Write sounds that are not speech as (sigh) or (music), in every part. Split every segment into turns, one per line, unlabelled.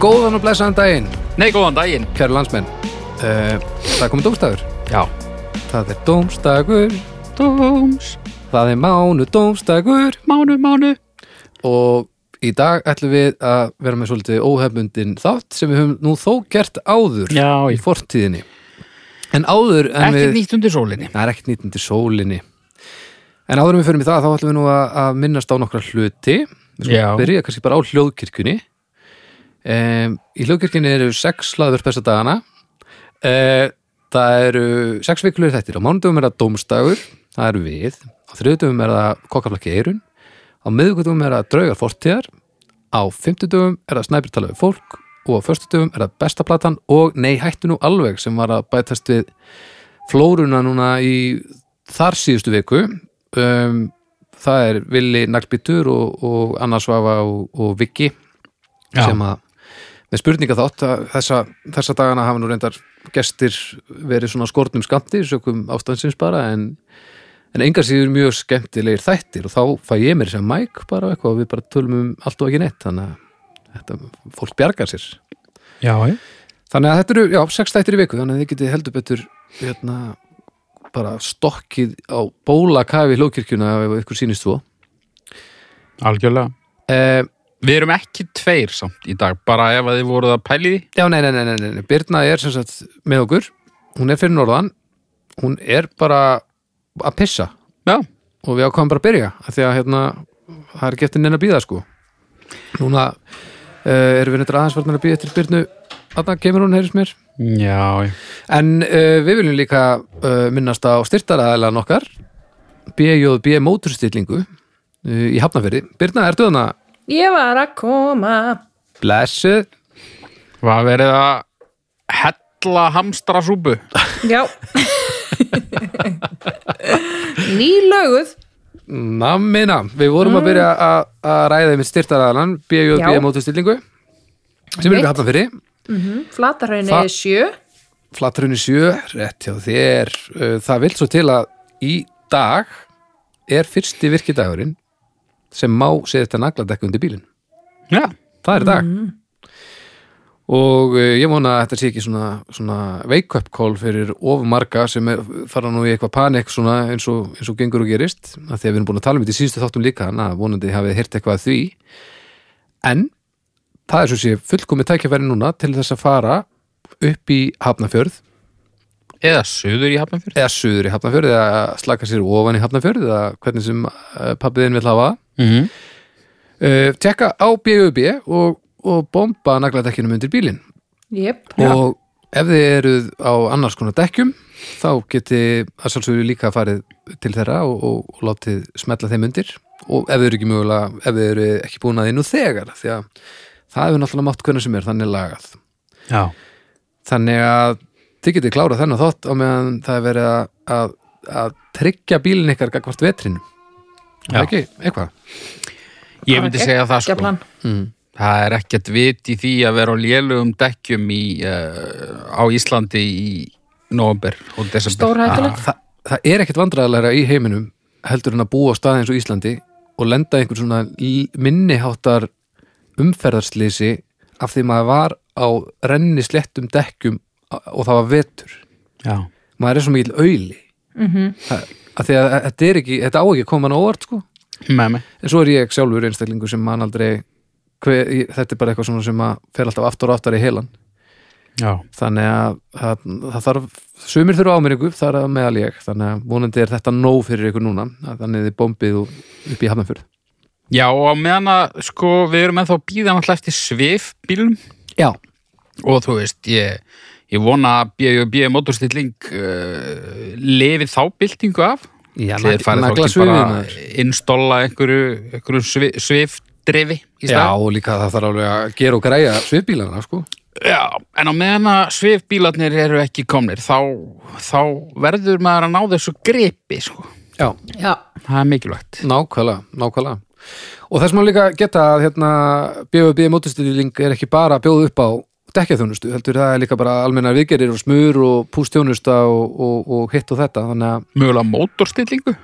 Góðan og blessaðan daginn,
Nei, góðan daginn
kæru landsmenn uh, Það er komið dómstagur
Já
Það er dómstagur,
Dóms,
það er mánu dómstagur
mánu, mánu
Og í dag ætlum við að vera með svolítið óhefbundin þátt sem við höfum nú þó gert áður
Já,
í fortíðinni En áður en
ekki
við
nýtt undir sólinni
Það er ekkert nýtt undir sólinni En áður en við förum í það þá ætlum við nú að, að minnast á nokkra hluti Við
Já.
skulum byrja kannski bara á hljóðkirkjunni um, Í hljóðkirkjunni eru sex hlaðvörp þessa dagana uh, Það eru sex vikulegur þettir Á mánudöfum er það dómstagur, það eru við Á þriðudöfum er það kokkaflakki eirun Á miðvikudöfum er það draugar fortíðar Á fimmtudöfum er það snæpir tala við fólk og á föstudöfum er það besta platan og nei hættu nú alveg sem var að bætast við flóruna núna í þar síðustu viku um, það er Vili Naglbítur og, og Anna Svafa og, og Viki
Já.
sem að með spurninga þátt að þessa, þessa dagana hafa nú reyndar gestir verið svona skornum skamti sökum ástandsins bara en, en enga síður mjög skemmtilegir þættir og þá fæ ég mér sem mæk bara eitthvað og við bara tölum um allt og ekki neitt þannig að þetta, fólk bjargar sér
Já,
Þannig að þetta eru, já, sex þættir í viku þannig að þið getið heldur betur hérna, bara stokkið á bóla kafi hlókirkjuna ef ykkur sýnist þú
algjörlega
eh,
Við erum ekki tveir samt í dag bara ef að þið voruð að pæli því
Já, nei, nei, nei, nei, nei, nei, Birna er sem sagt með okkur hún er fyrir norðan hún er bara að pissa
Já,
og við ákvæmum bara að byrja af því að hérna, það er getin neina að býða sko Núna eh, erum við neitt aðeins varnar að býða til Birnu Þarna kemur hún, heyrðis mér
já,
En uh, við viljum líka uh, minnast á styrtaraðalan okkar BJB móturstillingu uh, í Hafnafyrði. Birna, ertu þarna?
Ég var að koma
Blessuð.
var verið að hella hamstra súpu
Já Nýlöguð
Nammina, við vorum að byrja að- að ræða með styrtaraðalan BJB
Mm. Já.
móturstillingu sem er upp í
Einmitt.
Hafnafyrði.
Flatarhraunni
Þa-
er sjö
Flatrunni 7, rétt hjá þér. Uh, það vil svo til að í dag er fyrsti virkidagurinn sem má setja nagladekku undir bílinn.
Já,
það er í dag og uh, ég vona að þetta sé ekki svona, svona wake up call fyrir ofumarga sem er, fara nú í eitthvað panik svona eins og, eins og gengur og gerist að því að við erum búin að tala um þetta í síðustu þáttum líka þannig að vonandi hafið hirt eitthvað að því en það er svo sé fullkomið tækjafæri núna til þess að fara upp í Hafnafjörð
eða suður í hafnum fyrir
eða suður í Hafnafjörð eða slaka sér ofan í Hafnafjörð eða hvernig sem uh, pappiðin vil hafa það
mm -hmm.
uh, tekka á BUB og, og bomba nagladekkinum undir bílinn
Jep
og ef þið eruð á annars konar dekkjum þá geti að sjálfsögur líka farið til þeirra og, og, og látið smetla þeim undir og ef þið eru ekki mögulega ef þið eru ekki búin að því nú þegar því að það hefur náttúrulega mátt hvernig sem er þannig lagað
Já,
þannig að þið getið klárað þennan þátt á meðan það er verið að, að, að tryggja bílinn ykkar gagvart vetrinu
Já.
ekki, eitthvað
ég myndi segja það sko
plan.
Það er ekkert vit í því að vera á lélugum dekkjum í, uh, á Íslandi í november og desember Ah,
Stórhættulegt.
Þa, það er ekkert vandræðalega í heiminum heldur en að búa á staði eins og Íslandi og lenda í einhver svona l- minniháttar umferðarslýsi af því maður var á renni slettum dekkjum a- og það var vetur
Já,
maður er svo mikil auðli
Mhm.
-hmm. að því að þetta er ekki þetta á ekki að koma hann á óvart sko
með mig
en svo er ég sjálfur einstaklingu sem man aldrei hver, ég- þetta er bara eitthvað svona sem að fer alltaf aftur og aftar í heilan
Já,
þannig að, að það þarf sumir þurfa ámyringu, það er meðal ég þannig að vonandi er þetta nóg fyrir ykkur núna að þannig þið bombið og upp í hafnafjörð
Já, og á meðan að sko við erum ennþá að býða náttúrulega eftir svifbílum
Já,
og þú veist, ég, ég vona að B&B motorstilling uh, lefi þá byltingu af
já
Þeir farið þá ekki bara innstolla einhverju, einhverju svi, svifdrifi í
Já,
stað
og líka það þarf alveg að gera og græja svifbílana, sko
Já, en á meðan að svifbílarnir eru ekki komnir þá, þá verður maður að ná þessu gripi sko.
Já,
Já
það er mikilvægt
nákvæmlega, nákvæmlega og þess má líka geta að hérna BVB mótustýrling er ekki bara að bjóða upp á dekkjaþjónustu, heldur það er líka bara almennar viðgerir og smur og pústjónusta og, og, og hitt og þetta, þannig að
Mögulega motorstillingu?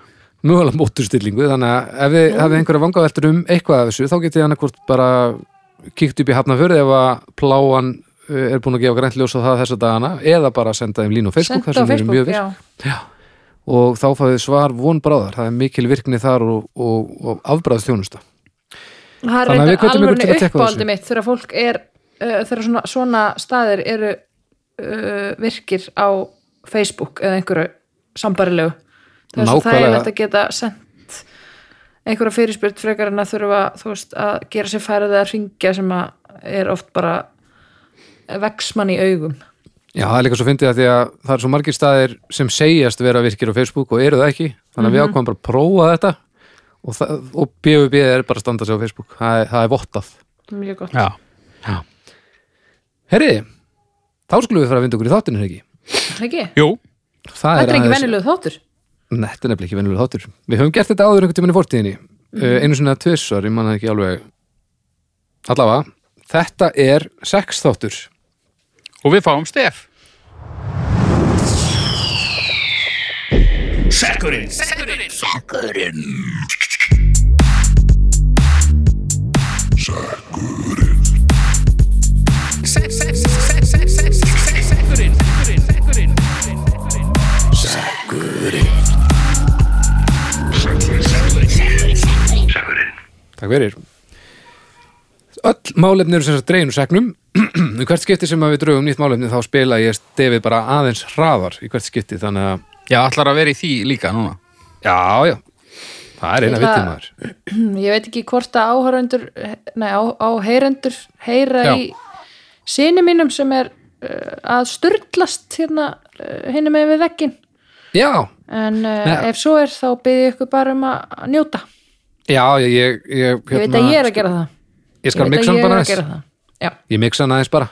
mögulega móturstillingu þannig að ef þið hafið einhverja vangaveltur um eitthvað af þessu þá getið hann ekkort bara kíkt upp í hafnafjörð ef að pláan eh, er búin að gefa grænt ljós á það þessa dagana eða bara senda þeim línu á Facebook, þar sem
Senda á
við erum mjög
Facebook,
virk
já.
og þá fæði svar von bráðar, það er mikil virkni þar og, og, og afbræðst þjónusta
Það er
Þannig að við
reyndar
hvetjum ykkur til að
alveg
tekka á þessu.
uppáhaldi mitt þegar fólk er, uh, þegar svona, svona staðir eru uh, virkir á Facebook eða einhverju sambarilegu. Það er svo
Nákvæmlega.
þægilegt að geta sendt einhverja fyrirspyrt frekar en að þurfa þú veist, að gera sér færið að ringja sem að er oft bara veksmann í augum.
Já, það er líka svo fyndið að því að það er svo margir staðir sem segjast vera virkir á Facebook og eru það ekki, þannig að
Mhm.
við ákvæmum bara að prófa þetta og, það- og BVB er bara að standa sig á Facebook, það er, það er vottað.
Mjög gott.
Já.
Herriði, þá skulum við fara að vinda okkur í þáttinu, er ekki?
Það er ekki?
Jú,
Það
Þetta er ekki
aðeins-
venjulegu þáttur.
Nei, Þetta er nefnilega ekki venjulega þáttur. Við höfum gert þetta áður einhvern tímann í fortíðinni,
Mm.
uh, einu svona tvissar, ég manna ekki alveg. Allavega, þetta er sex þáttur.
og við fáum stef.
Takk fyrir. Öll málefni eru sem sagt dregin úr segnum. (clears throat) Í hvert skipti sem að við draugum nýtt málefni þá spila ég stefið bara aðeins hraðar í hvert skipti þannig að
Já, ætlar að vera í því líka núna.
já, já, það er eina
Ég
vitið
ætla-
maður.
ég veit ekki hvort að áhörendur nei, á, á heyrendur heyra
Já.
í sinni mínum sem er uh, að styrlast hérna uh, hinni með við vekkin
Já,
en uh,
Nei.
ef svo er þá byrði ykkur bara um að að njóta
já, ég, ég, ég,
ég veit að ég er að gera það
Hérna, sko, Ég
ég
skal
veit
mixa
að
hann
ég
bara
er að
aðeins.
gera það já,
Ég mixa hann aðeins bara.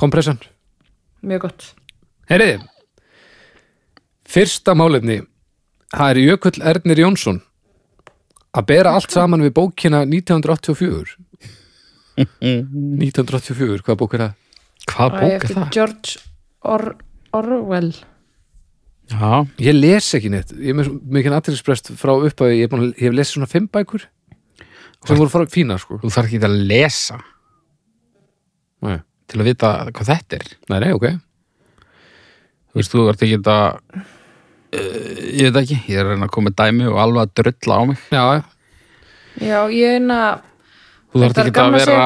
Kompressan.
mjög gott
Heyriði, fyrsta málefni, það er Jökull Ernir Jónsson að bera allt saman við bókina 1984. 1984, hvaða bók er það?
Hvað
og ég eftir George Or Orwell
Já,
Ég les ekki neitt, ég er með svo mikið aðtilsprest frá upphæði, ég, er búinn að- ég hef lesið svona fimm bækur sem voru frá fína sko
þú þarf ekki að lesa
Nei,
til að vita hvað þetta er.
nei, nei ok
Þú veist, þú ert ekki að... Uh, ég veit ekki, ég er að reyna að koma með dæmi og alveg að drulla á mig.
Já, já.
já, ég er hérna, að
Þú þarf
Þetta er
ekki að
gamla
vera...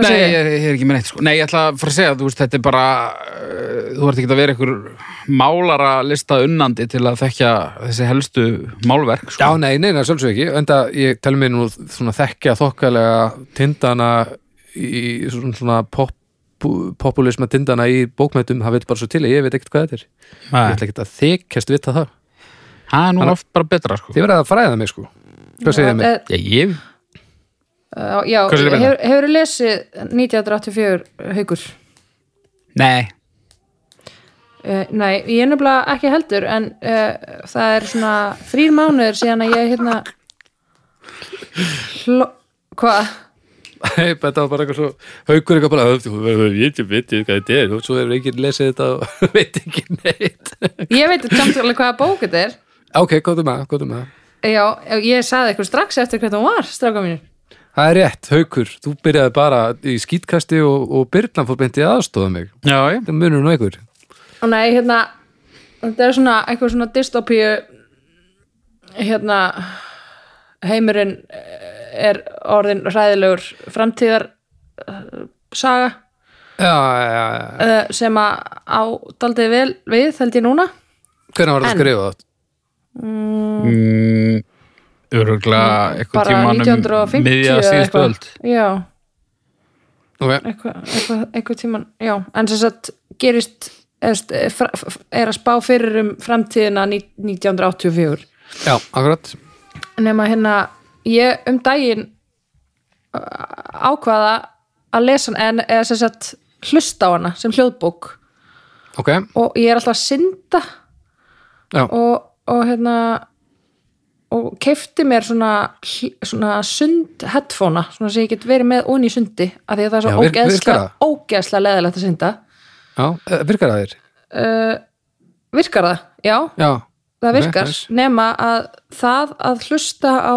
hvað
Nei,
segir
ég
ég?
er, ég er ekki með neitt sko. Nei, ég ætla að fara að segja, þú veist, þetta er bara uh, þú ert ekki að vera einhver málara lista unnandi til að þekkja þessi helstu málverk sko.
já, nei, nei, nei, sjálfsög ekki Enda ég tel mér nú svona þekkja þokkalega tindana í svona, svona pop, populisma tindana í bókmættum það veit bara svo til að ég veit ekkert hvað þetta er Ég ætla ekkert að þykjast vita það
það er nú oft bara betra sko.
Þið verða að fræða mig sko Hvað segir þið mig?
Eh,
Já, ég,
eh, já,
Hvað segirðu mér?
hefur, hefur lesið 1984 haukur
nei,
Uh, nei, ég er nefnilega ekki heldur en uh, það er svona þrýr mánuður síðan að ég hérna hló... Hvað?
(laughs) Nei, þetta var bara eitthvað svo haukur eitthvað bara, "Þú verður- ég veit, veit, veit hvað þetta er og svo hefur enginn lesið þetta og (laughs) veit ekki neitt
Ég veit samt alveg hvaða bók þetta er Eh,
Ok, um góðum að, góðum að.
Já, ég saði eitthvað strax eftir hvernig hún var, stráka mínir
Það er rétt, Haukur, þú byrjaði bara í skítkasti og, og Byrlan fór beint í aðstofa mig.
já, já
Það munur nú einhver.
Og nei, hérna þetta er svona eitthvað svona dystopíu hérna heimurinn eh, er orðin hræðilegur framtíðar eh, saga
Já, já, já.
uh, sem að á daldið vel við, held ég núna
Hvernig var það
En-
skrifað? átt?
mm, örugla eitthvað
bara
tímanum
1950
um miðja
eða
síðustu
eitthvað.
öld
já,
Ok,
eitthvað, eitthvað, eitthvað tíman já, en sem sagt gerist eðst, eh, er að spá fyrir um framtíðina ní- 1984
já, akkurat.
nema hérna ég um daginn uh, ákvaða að lesa hann en eða sem sagt hlusta á hana sem hljóðbók
Ok,
og ég er alltaf að synda
já,
og, og hérna og kefti mér svona, hl- svona sund headphone svona sem ég get verið með onni í sundi af því að það er
Já,
svo
vir- virkar
ógeðslega,
það?
ógeðslega leðilegt að synda
já, eh, virkar það þér?
uh, virkar það, já
Já,
það
Ok,
virkar,
nice.
nema að það að hlusta á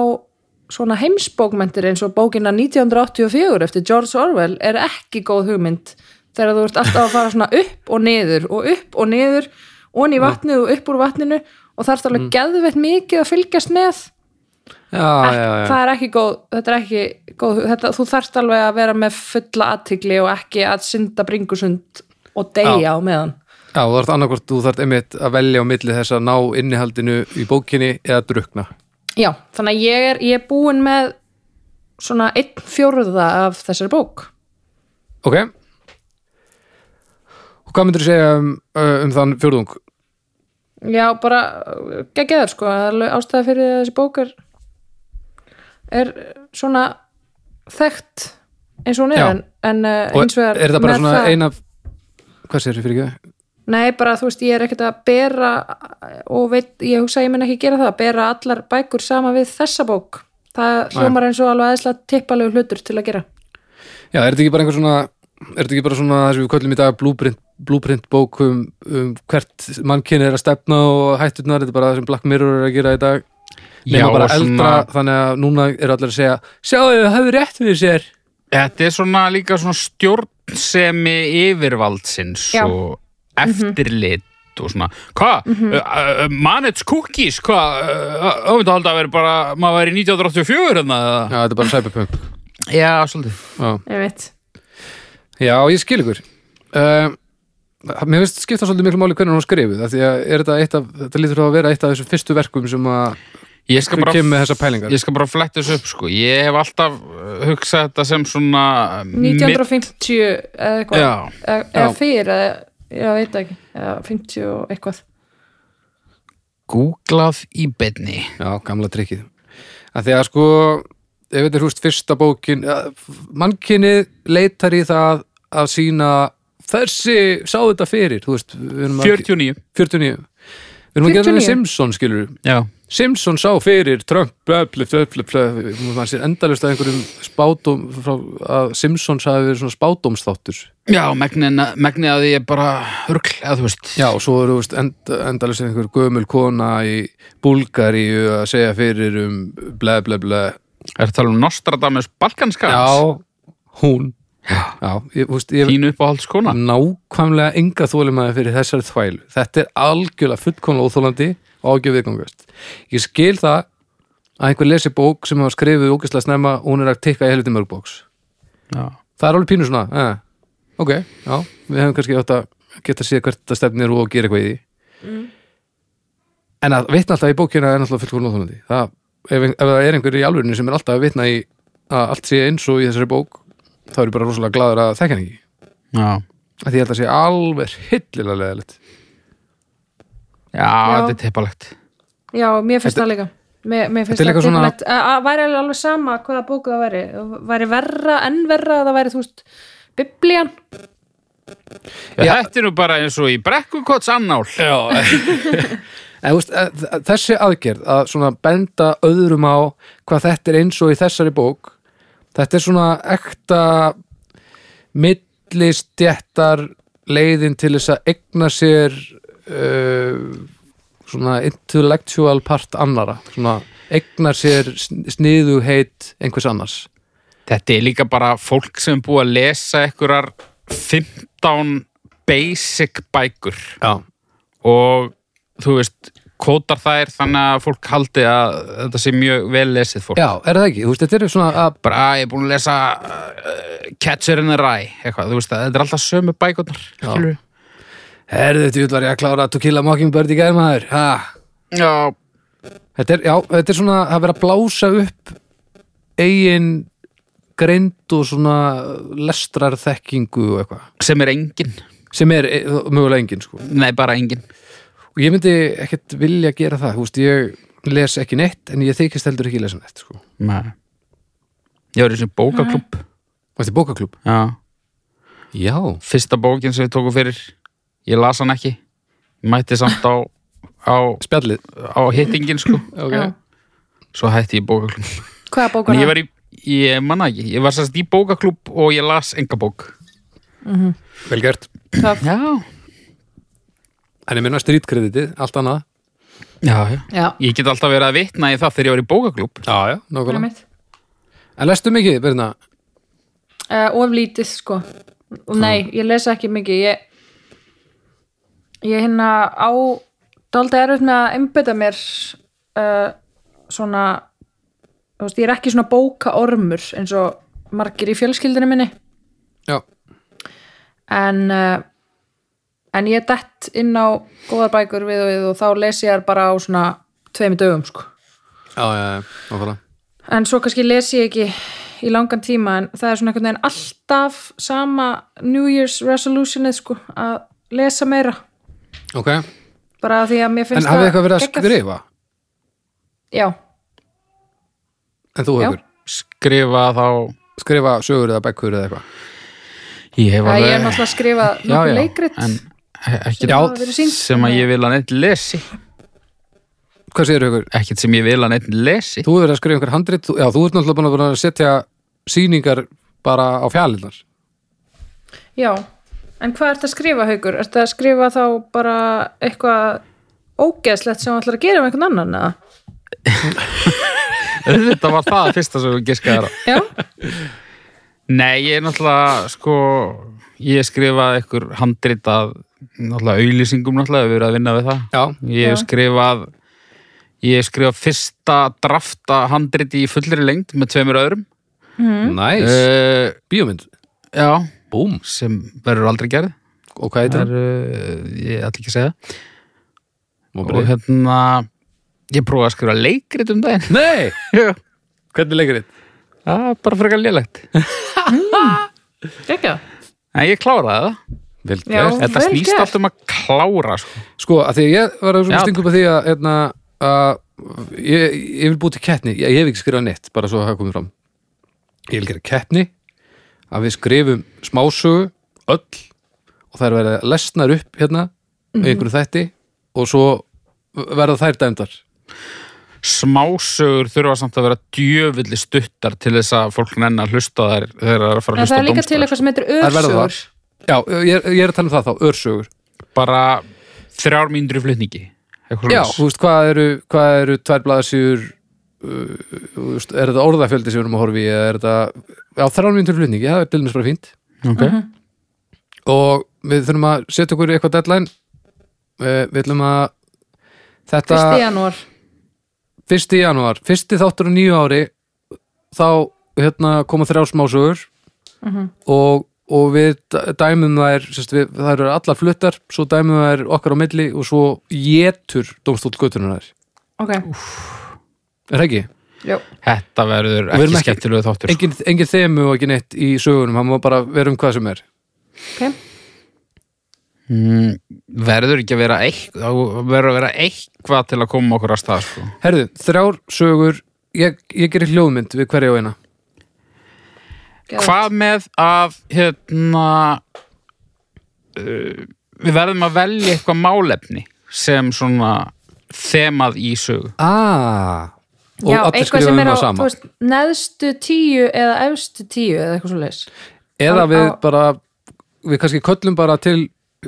svona heimsbókmentir eins og bókina 1984 eftir George Orwell er ekki góð hugmynd þegar þú ert alltaf að fara svona upp og niður og upp og niður onni í
Mm.
vatnið og upp úr vatninu og þarfst alveg geðveitt mikið að fylgjast með
Ah, já, já, já.
það er ekki góð, þetta er ekki góð þetta, þú þarft alveg að vera með fulla aðtigli og ekki að synda bringusund og deyja á meðan
já, þú þarft annarkvort, þú þarft einmitt að velja á milli þess að ná innihaldinu í bókinni eða drukna
já, þannig að ég er, ég er búin með svona einn fjóruða af þessari bók
ok og hvað myndir þú segja um, uh, um þann fjórðung?
já, bara geggjæður sko, það er alveg ástæða fyrir því að þessi bók er er uh, svona þekkt eins og hún er
Já.
en, en eh,
og
eins vegar
er þetta bara
með
svona
það-
eina hvað sér þið fyrir ekki?
Nei, bara þú veist, ég er ekkert að bera uh, og veit, ég hugsa að ég mun ekki gera það bera allar bækur sama við þessa bók það hljómar eins og alveg aðeinslega tippalegu hlutur til að gera
Já, er þetta ekki bara einhver svona er þetta ekki bara svona það sem við köllum í dag blúprint, blúprint bók um, um hvert mannkinn er að stefna og hætturnar þetta er bara það sem Black Mirror er að gera í dag nema bara
og
eldra, þannig að núna eru allir að segja sjáðu, það hefur rétt fyrir sér
Þetta er svona líka svona stjórnsemi yfirvaldsins
Já.
og eftirlit og svona, hvað, mm manage cookies, hvað uh, öfndahald að vera bara, maður væri 1984 hérna,
Já,
eða?
þetta er bara cyberpunk
já, svolítið
Já,
Ég veit,
Já ég skil ykkur um, Mér finnst skipta svolítið miklu máli hvernig hún var skrifuð af því að er þetta, eitt af, þetta lítur þá að vera eitt af þessum fyrstu verkum sem að
Ég skal bara,
kemur með þessar pælingar
ég skal bara fletta þessu upp, sko ég hef alltaf uh, hugsað þetta sem svona
1950 eða eitthvað
Já.
eða, eða
Já.
fyrir, eða ég veit ekki eða 50 og eitthvað
googlað í beinni
Já, gamla trikkið að Því að sko, ef þetta er húst fyrsta bókin mannkinnið leitar í það að sína þessi sá þetta fyrir þú veist, við erum að-
49,
49 Við erum að gera það með
49?
Simpson, skilur
já
Simpson sá fyrir Trump blö, blö, blö, blö, blö. maður sér endalust að einhverjum spátum frá, að Simpsons hafi verið svona spátumsþáttur
Já, megnið megni að ég bara hurgl, eða þú veist
já og svo eru veist, end, endalust einhver gömul kona í Búlgaríu að segja fyrir um ble ble ble
Er það um Nostradamus Balkanskans?
já, hún já, ég, þú veist, ég
Þín uppáhaldskona?
nákvæmlega enga þólimaði fyrir þessari þvæl þetta er algjörlega fullkomlega óþólandi og ágjöf viðgangast ég skil það að einhver lesi bók sem hafa skrifið ógæslega snemma og hún er að tikka í helviti mörg bóks
Já.
það er alveg pínu svona eh. ok, já, við hefum kannski átt að geta séð hvert það stefnir og gera eitthvað í því en að vitna alltaf í bókina er náttúrulega fullkomlega óþólandi það, ef, ef það er einhver í alvörinu sem er alltaf að vitna í að allt sé eins og í þessari bók þá er ég bara rosalega gladur að þekka hann ekki
Já.
að því ég held að sé alveg hillilega leðilegt
Já, þetta er tippalegt.
Já, mér finnst það líka Mér, mér finnst
Þetta er
það
líka svona-
dýrmætt. Að- að væri alveg alveg sama hvaða bóku það væri Það væri verra, enn verra að það væri, þú veist, biblían
Þetta er nú bara eins og í brekkukots annál. Já.
en, veist, að, að, þessi aðgerð að svona benda öðrum á hvað þetta er eins og í þessari bók þetta er svona ekta millistjættar leiðin til þess að egna sér uh, svona intellectual part annara svona egna sér sniðuheit einhvers annars
(laughs) Þetta er líka bara fólk sem er búið að lesa einhverjar 15 basic bækur
já,
og þú veist, kótar þær þannig að fólk haldi að þetta sé mjög vel lesið fólk.
já er það ekki, þú veist, þetta er svona að
Bara, "Ah, ég er búin að lesa uh, Catcher in the Rye, eitthvað, þú veist, að þetta er alltaf sömu bækurnar. skilurðu?
herðu þetta var ég að klára To Kill a Mockingbird í gærmaður hæ
Já.
Þetta er, já, þetta er svona að vera að blása upp eigin greind og svona lestrar þekkingu og eitthvað
Sem er engin.
sem er e, mögulega engin sko.
Nei, bara engin.
og ég myndi ekkert vilja gera það þú veist, ég les ekki neitt en ég þykist heldur ekki lesa neitt sko.
Nei. Ég var í þessum bókaklubb.
Þetta er bókaklub
Já.
Já,
fyrsta bókin sem við tókum fyrir ég las hann ekki Ég mætti samt á, á,
spjallið
á hittingin sko
okay.
Já.
svo hætti ég bókaklúb
Hvaða bóku
en ég var í, ég manna ekki ég var sérst í bókaklúb og ég las enga bók
Vel gert
það?
já,
En ég minna strýtkreditið, allt annað
Já, já.
Já,
Ég get alltaf verið að vitna í það þegar ég var í bókaklúb.
Já, já, nákvæmlega.
einmitt.
En lestu mikið, Birna?
Uh, of lítið sko og nei, ég lesa ekki mikið ég, ég hérna á dálítið erfitt með að einbytta mér uh, svona þú veist, ég er ekki svona bókaormur eins og margir í fjölskyldinu minni
Já.
en uh, en ég dett inn á góðar bækur við og við og þá les ég þær bara á svona tveimur dögum sko
Já, já, já, nákvæmlega.
en svo kannski les ég ekki í langan tíma en það er svona einhvern veginn alltaf sama New Year's resolutionið sko að lesa meira
Ok,
bara af því að mér finnst
en hafið eitthvað verið að
geggjað.
skrifa?
Já,
En þú
Já.
hefur?
Skrifa þá...
Skrifa sögur eða bekkur eða eitthvað?
Ég hef
það ég er
alveg...
náttúrulega að skrifa nokkuð leikrit
en ekkert
Já,
það verið sýnt.
sem að ég vil að neitt lesi.
Hvað segir ykkur?
Ekkert sem ég vil að neitt lesi.
Þú hefur verið að skrifa einhver handrit, þú- já, þú ert náttúrulega búin að- búin að setja sýningar bara á fjallinnar.
Já, en hvað ertu að skrifa haukur? Ertu að skrifa þá bara eitthvað ógeðslegt sem þú ætlar að gera með einhvern annan eða?
Þetta var það fyrsta sem við giskaði á.
Já,
Nei, ég er náttúrulega, sko, ég skrifaði ykkur handrit að, náttúrulega, auðlýsingum náttúrulega, við erum að vinna við það.
Já,
Ég hef
Já.
skrifað, ég hef skrifað fyrsta drafta handrit í fullri lengd með tveimur öðrum.
næs,
Uh,
bíómynd,
já,
búm,
sem verður aldrei gerð.
og hvað heitir
Það
hann?
er, uh, ég ætla ekki að segja. Og
Vonbrigði.
hérna, ég prófaði að skrifa leikrit um
(laughs)
daginn.
Nei,
Já,
hvernig leikur þitt?
það er bara frekar lélegt.
ekki
En ég kláraði það.
Vel
Já.
gert.
Þetta
Vel
snýst
gert.
allt um að klára, sko.
Sko, að því að ég var að
Já.
stinga upp að því að, hérna, að ég, ég vil búið til keppni, ég, ég hef ekki skrifað neitt, bara svo að það komið fram. Ég vil gera keppni að við skrifum smásögu, öll, og þær verða lesnar upp hérna, mm einhverju þætti, og svo verða þær dæmdar.
smásögur þurfa samt að vera djöfulli stuttar til þess að fólk nenni að hlusta þær þegar það er að fara að
En
hlusta á
það er líka til
dómstæður.
eitthvað sem heitir
Þær verða
örsögur
það. Já, ég, ég er að tala um það þá, örsögur.
bara þrjár mínútur í flutningi eitthvað
Já,
svoleiðis.
þú veist, hvað eru, hvað eru tvær blaðasjúr uh, þú veist, er þetta orðafjöldi sem við erum að horfa í eða er þetta, já, þrjár mínútur flutningi það er til dæmis bara fínt
Ok.
Mhm.
og við þurfum að setja okkur í eitthvað deadline uh, við ætlum að þetta,
1. janúar
fyrsti janúar fyrsti þáttur á nýju ári þá hérna, koma þrjár smásögur og, og við dæ- dæmum þær sérst, við, þær eru allar fluttar, svo dæmum þær okkar á milli og svo getur dómstól göttunar þær,
Ok,
er það ekki?
jú
þetta verður
Og við erum
ekki
ekki-
skemmtilegu þáttur sko.
engin, engin þemu og ekki neitt í sögunum hann má bara vera um hvað sem er
Ok,
mm, verður ekki að vera eitthvað það verður að vera eitthvað til að koma okkur að stað sko.
herðu, þrjár sögur ég, ég gerir hljóðmynd við hverja og eina
geðvægt.
hvað með að hérna uh, við verðum að velja eitthvað málefni sem svona þemað í sögu
ah, og
Já,
allir
eitthvað sem
skrifa um
er á,
það
þú
sama
veist, neðstu tíu eða efstu tíu eða eitthvað svo leis
eða
á-
við
á-
bara við kannski köllum bara til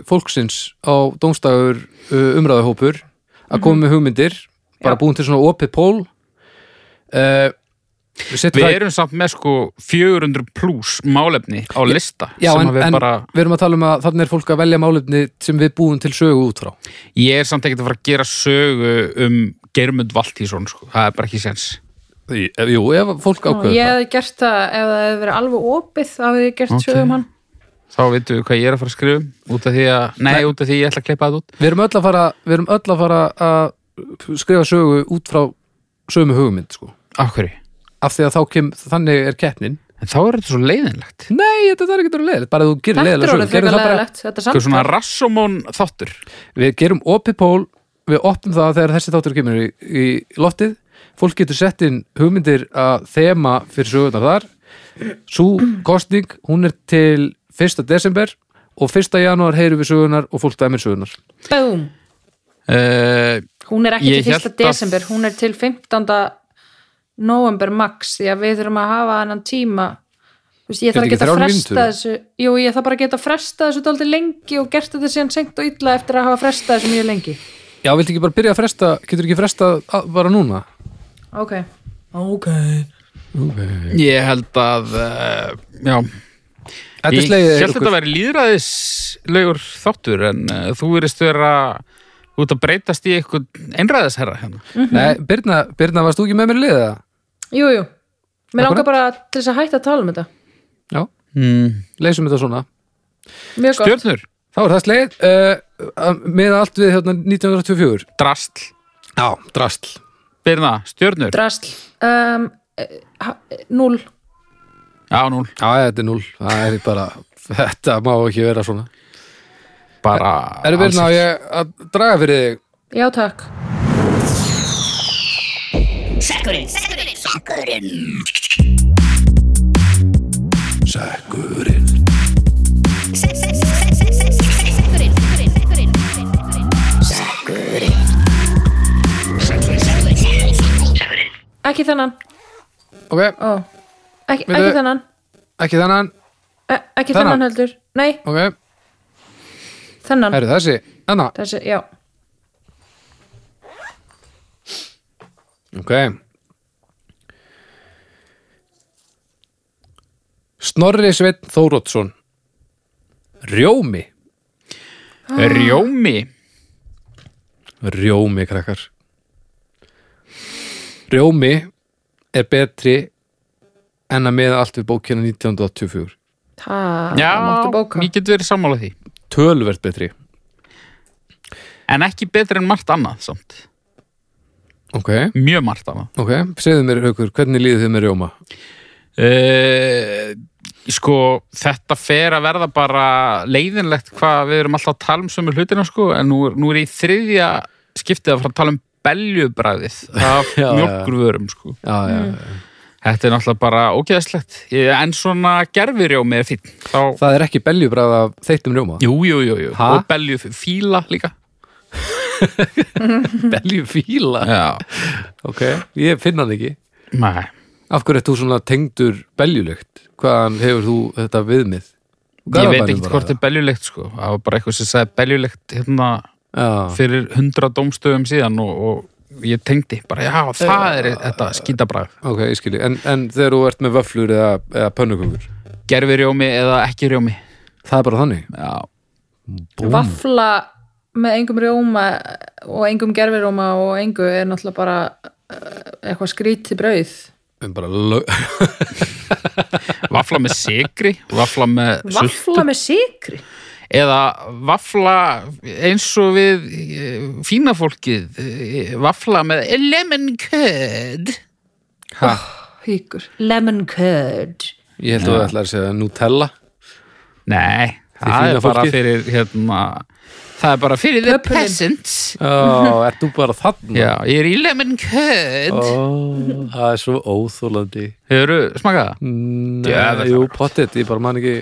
fólksins á dómstæður uh, umræðahópur að koma með hugmyndir bara
Mhm. Já.
búin til svona opið pól uh, við setjum
Við
það
erum samt með sko 400 pluss málefni á lista
Já,
sem
en,
að við
en
bara,
við erum að tala um að þannig er fólk að velja málefni sem við búum til sögu út frá
ég er samt ekkert að fara að gera sögu um Germund Valtísson sko, það er bara ekki sens
Í-
eh,
ef- Jú, ef fólk
og
ákveður
ég
það
hefði gert það ef það hefði verið alveg opið þá hefði ég gert
Ok.
okay. sögum hann
þá veitum við hvað ég er að fara að skrifa um, út af því að, nei, út af því ég ætla að klippa það út
Við erum öll að fara, við erum öll að, fara að skrifa sögu út frá sömu hugmynd sko.
af hverju,
af því að þá kem, þannig er keppnin
en þá er þetta svo leiðinlegt
Nei, þetta þarf ekki að vera leðilegt, bara þú gerir
þetta er
leðilega sögu
orðið
gerum
frekar
það bara,
leðilegt þetta er
eitthvað
samt
svona rassomón þáttur
Við gerum opið pól við opnum það þegar þessi þáttur kemur í, í loftið, fólk getur sett inn hugmyndir að þema fyrir sögunar þar Sú kostning, hún er til 1. desember og 1. janúar heyrum við sögunar og fólk dæmir sögunar
Búm.
Eh,
uh,
hún er ekki
Ég
til
hélt
1.
að-
desember hún er til 15. november max því að við þurfum að hafa hennan tíma Þú veist, ég
Er
þarf
þetta
að geta
ekki þrjár
fresta
mínútur?
þessu jú, ég þarf bara að geta fresta þessu dálítið lengi og gert þetta síðan sengt og illa eftir að hafa fresta þessu mjög lengi
Já, viltu ekki bara byrja að fresta, getur ekki fresta að- bara núna?
ok
Ok. Ég held að, uh, já,
eh, Þetta
ég
er slegið
held að þetta væri líðræðislegur þáttur en uh, þú verist vera út að breytast í eitthvað einræðisherra hérna.
Nei, Birna, Birna, varst þú ekki með mér í liða?
jú, jú, mér
Akkurat.
langar bara til þess að hætta að tala um þetta
Já,
Mm.
leysum þetta svona
mjög gott,
Stjörnur,
Þá er það slegið uh, með allt við hérna 1924
drastl,
Já, drastl
byrna, stjörnur,
drasl um, eh, ha- eh, núll
já núl,
Já, þetta er 0, það er bara þetta má ekki vera svona
bara
Erum
alls
Birna, á
ekki.
ég að draga fyrir þig
já takk
Sækurinn Sækurinn Sækurinn
Sækurinn
Sækurinn Sækurinn Sækurinn Sækurinn
ekki þennan,
Ok,
ó ekki,
Veitu-
ekki þennan,
ekki þannan,
e ekki
Þennan?
þennan. heldur nei,
ok
þennan
Herru, þessi, þannig
þessi, já,
Ok Snorri Sveinn Þóróttsson Rjómi
Rjómi,
Rjómi, krakkar Rjómi er betri en að meða allt við bókina 1984
það
já,
máttu bóka
ég get verið sammála því.
Tölvert betri
En ekki betur en margt annað samt,
Ok,
mjög margt annað.
ok, segðu mér haukur, hvernig líðið þið með Rjóma?
Uh, sko, þetta fer að verða bara leiðinlegt hvað við erum alltaf að tala um sömu hlutina sko, en nú, er- nú er í þriðja skiptið að fara að tala um beljubræðið
(laughs)
af
Já, já, já.
mjölkurvörum sko.
Já, já, já.
Þetta er náttúrulega bara ógeðslegt Ég- en svona gerfirjómi er fín þá,
Það er ekki beljubræð af þeittum Rjóma
Jú, jú, jú, jú.
Ha?
og beljufíla líka
Beljufíla
Já,
(laughs) Ok, ég finn hann ekki
nei
Af hverju ert þú svona tengdur beljulykt? Hvaðan hefur þú þetta viðmið?
Ég veit ekki hvort er beljulegt sko Það var bara eitthvað sem sagði beljulegt hérna
Já,
fyrir hundra dómstöðum síðan og, og ég tengdi bara, já, það er þetta skítabræð
ok, ég skilji. En, en þegar þú ert með vöflur eða, eða pönnukökur,
gerfi rjómi eða ekki rjómi
það er bara þannig.
já,
vafla með engum rjóma og engum gerfiróma og engu er náttúrulega bara eh, eitthvað skríti brauð
En bara lög... (laughs)
vafla með sigri vafla með sult
vafla með sikri
eða vafla eins og við eh, fína fólkið eh, vafla með lemon curd
Ha,
Híkur. lemon curd
ég held að þú ætlar að segja Nutella.
nei, það
fína
er bara
fólkið.
fyrir hérna, það er bara fyrir the
Pöbbunin.
peasants
Ó, (laughs) ert þú bara þarna?
já, ég er í lemon curd
Ó,
oh.
það er svo óþólandi.
hefur smakað það?
Nei,
Djöfull.
jú, pottit, ég bara man ekki...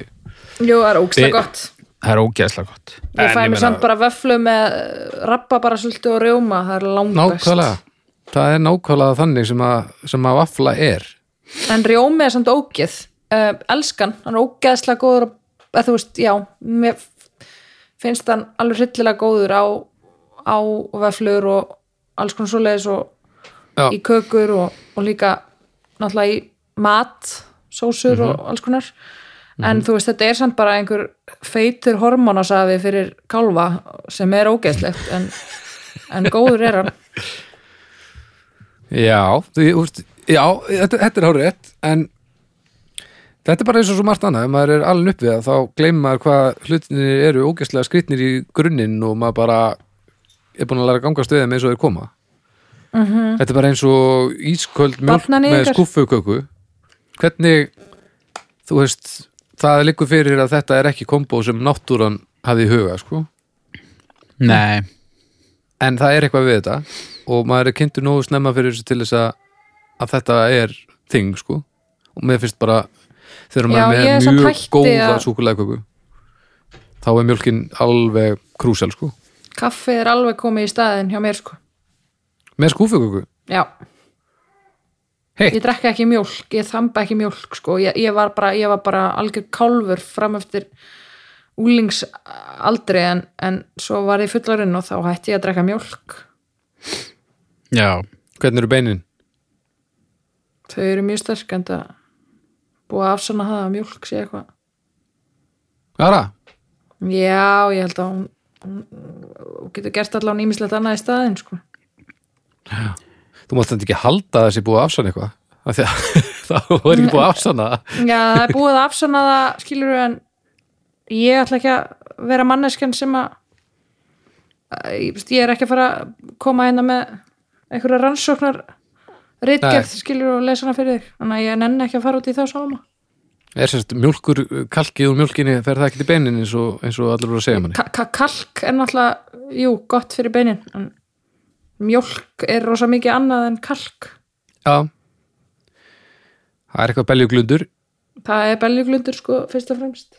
jú, það er ógsta
Við-
gott
það er ógeðslega gott En
ég fæ mér
meina-
samt bara vöflu með rappa bara sultu og rjóma það er langbest
Nákvæmlega. Það er nákvæmlega þannig sem að, sem að vafla er.
en rjómi er samt ógeð uh, elskan, hann er ógeðslega góður að þú veist, já mér finnst hann alveg hryllilega góður á, á veflur og alls konar svoleiðis og
Já.
í kökur og, og líka náttúrulega í mat sósur og alls konar en þú veist, þetta er samt bara einhver feitur hormonasafi fyrir kálfa sem er ógeðslegt en, en góður er hann
Já, því, úst, já þetta, þetta er hárið rétt en þetta er bara eins og svo margt annað ef maður er alveg upp við það þá gleymir maður hvað hlutinir eru ógæslega skrýtnir í grunninn og maður bara er búin að læra að ganga stöðum eins og þeir koma -hmm. Þetta er bara eins og ísköld mjólk með
Barnaníðingar.
skúffuköku hvernig þú veist, það liggur fyrir að þetta er ekki kombo sem náttúran hafði í huga, sko
nei
en það er eitthvað við þetta og maður er kynntur nógu snemma fyrir þessu til þess að, að þetta er þing sko og mér finnst bara þegar
Já,
maður
ég er
er
samt
með mjög
hætti
góða
að-
súkulæðköku þá er mjölkin alveg krúsel sko
kaffið er alveg komið í staðin hjá mér sko
með skúfuköku
já
hey,
ég drekka ekki mjólk, ég þamba ekki mjólk sko. ég, ég, var bara, ég var bara algjör kálfur fram eftir úlingsaldri en, en svo var ég fullarinn og þá hætti ég að drekka mjólk
Já,
Hvernig eru beinin?
þau eru mjög sterk en það búið að afsanna það að mjólk sé eitthvað
Ara,
já, ég held að hún, hún, hún getur gert allan ímislegt annað í staðinn sko.
þú mátt þetta ekki halda að þessi búið að afsanna eitthvað af því að (laughs) það voru ekki búið að afsanna það.
já, það er búið að afsanna það skilur en ég ætla ekki að vera manneskjan sem að að- ég veist, ég er ekki að fara að koma hérna með einhverja rannsóknar reitgerð skilur og lesa hana fyrir þig þannig að ég nenni ekki að fara út í þá sáma
er sérst mjólkur, kalkið úr mjólkinni fer það ekki til beinin eins og, eins og allir voru að segja manni
Ka- ka- kalk er náttúrulega, jú, gott fyrir beinin en mjólk er rosa mikið annað en kalk
já það er eitthvað beljuglundur
það er beljuglundur sko fyrst og fremst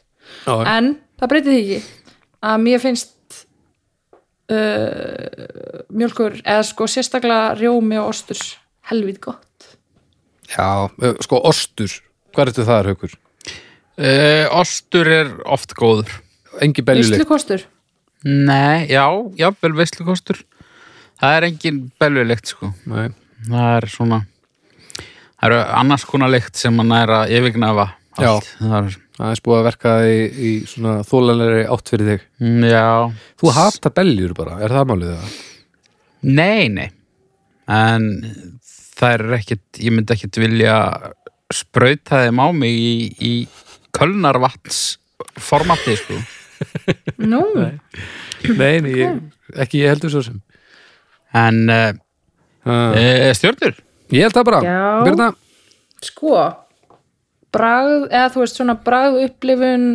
já,
en það breytir því ekki að mér finnst uh, mjölkur eða sko sérstaklega rjómi og ostur helvit gott
já, ö, sko ostur hvað ertu þar haukur?
uh, ostur er oft góður
engi beljuleg
Íslukostur,
Nei, já, já, vel veislukostur Það er engin belvilegt sko
Nei.
Það er svona Það eru annars konar lykt sem mann er að yfirgnafa
Já.
allt. Það er,
aðeins búið að verka í, í svona þólanlegri átt fyrir þig
mm, já
þú hatar beljur bara, er það málið það?
Nei, nei En það er ekkit Ég myndi ekkit vilja sprauta þeim á mig í, í kölnarvatns formati sko
nú
(clears throat) nei, nei ég, ekki ég heldur svo sem
En uh,
uh,
uh, stjörnur
ég held það bara
Já.
Birna,
sko bragð, eða þú veist svona bragð upplifun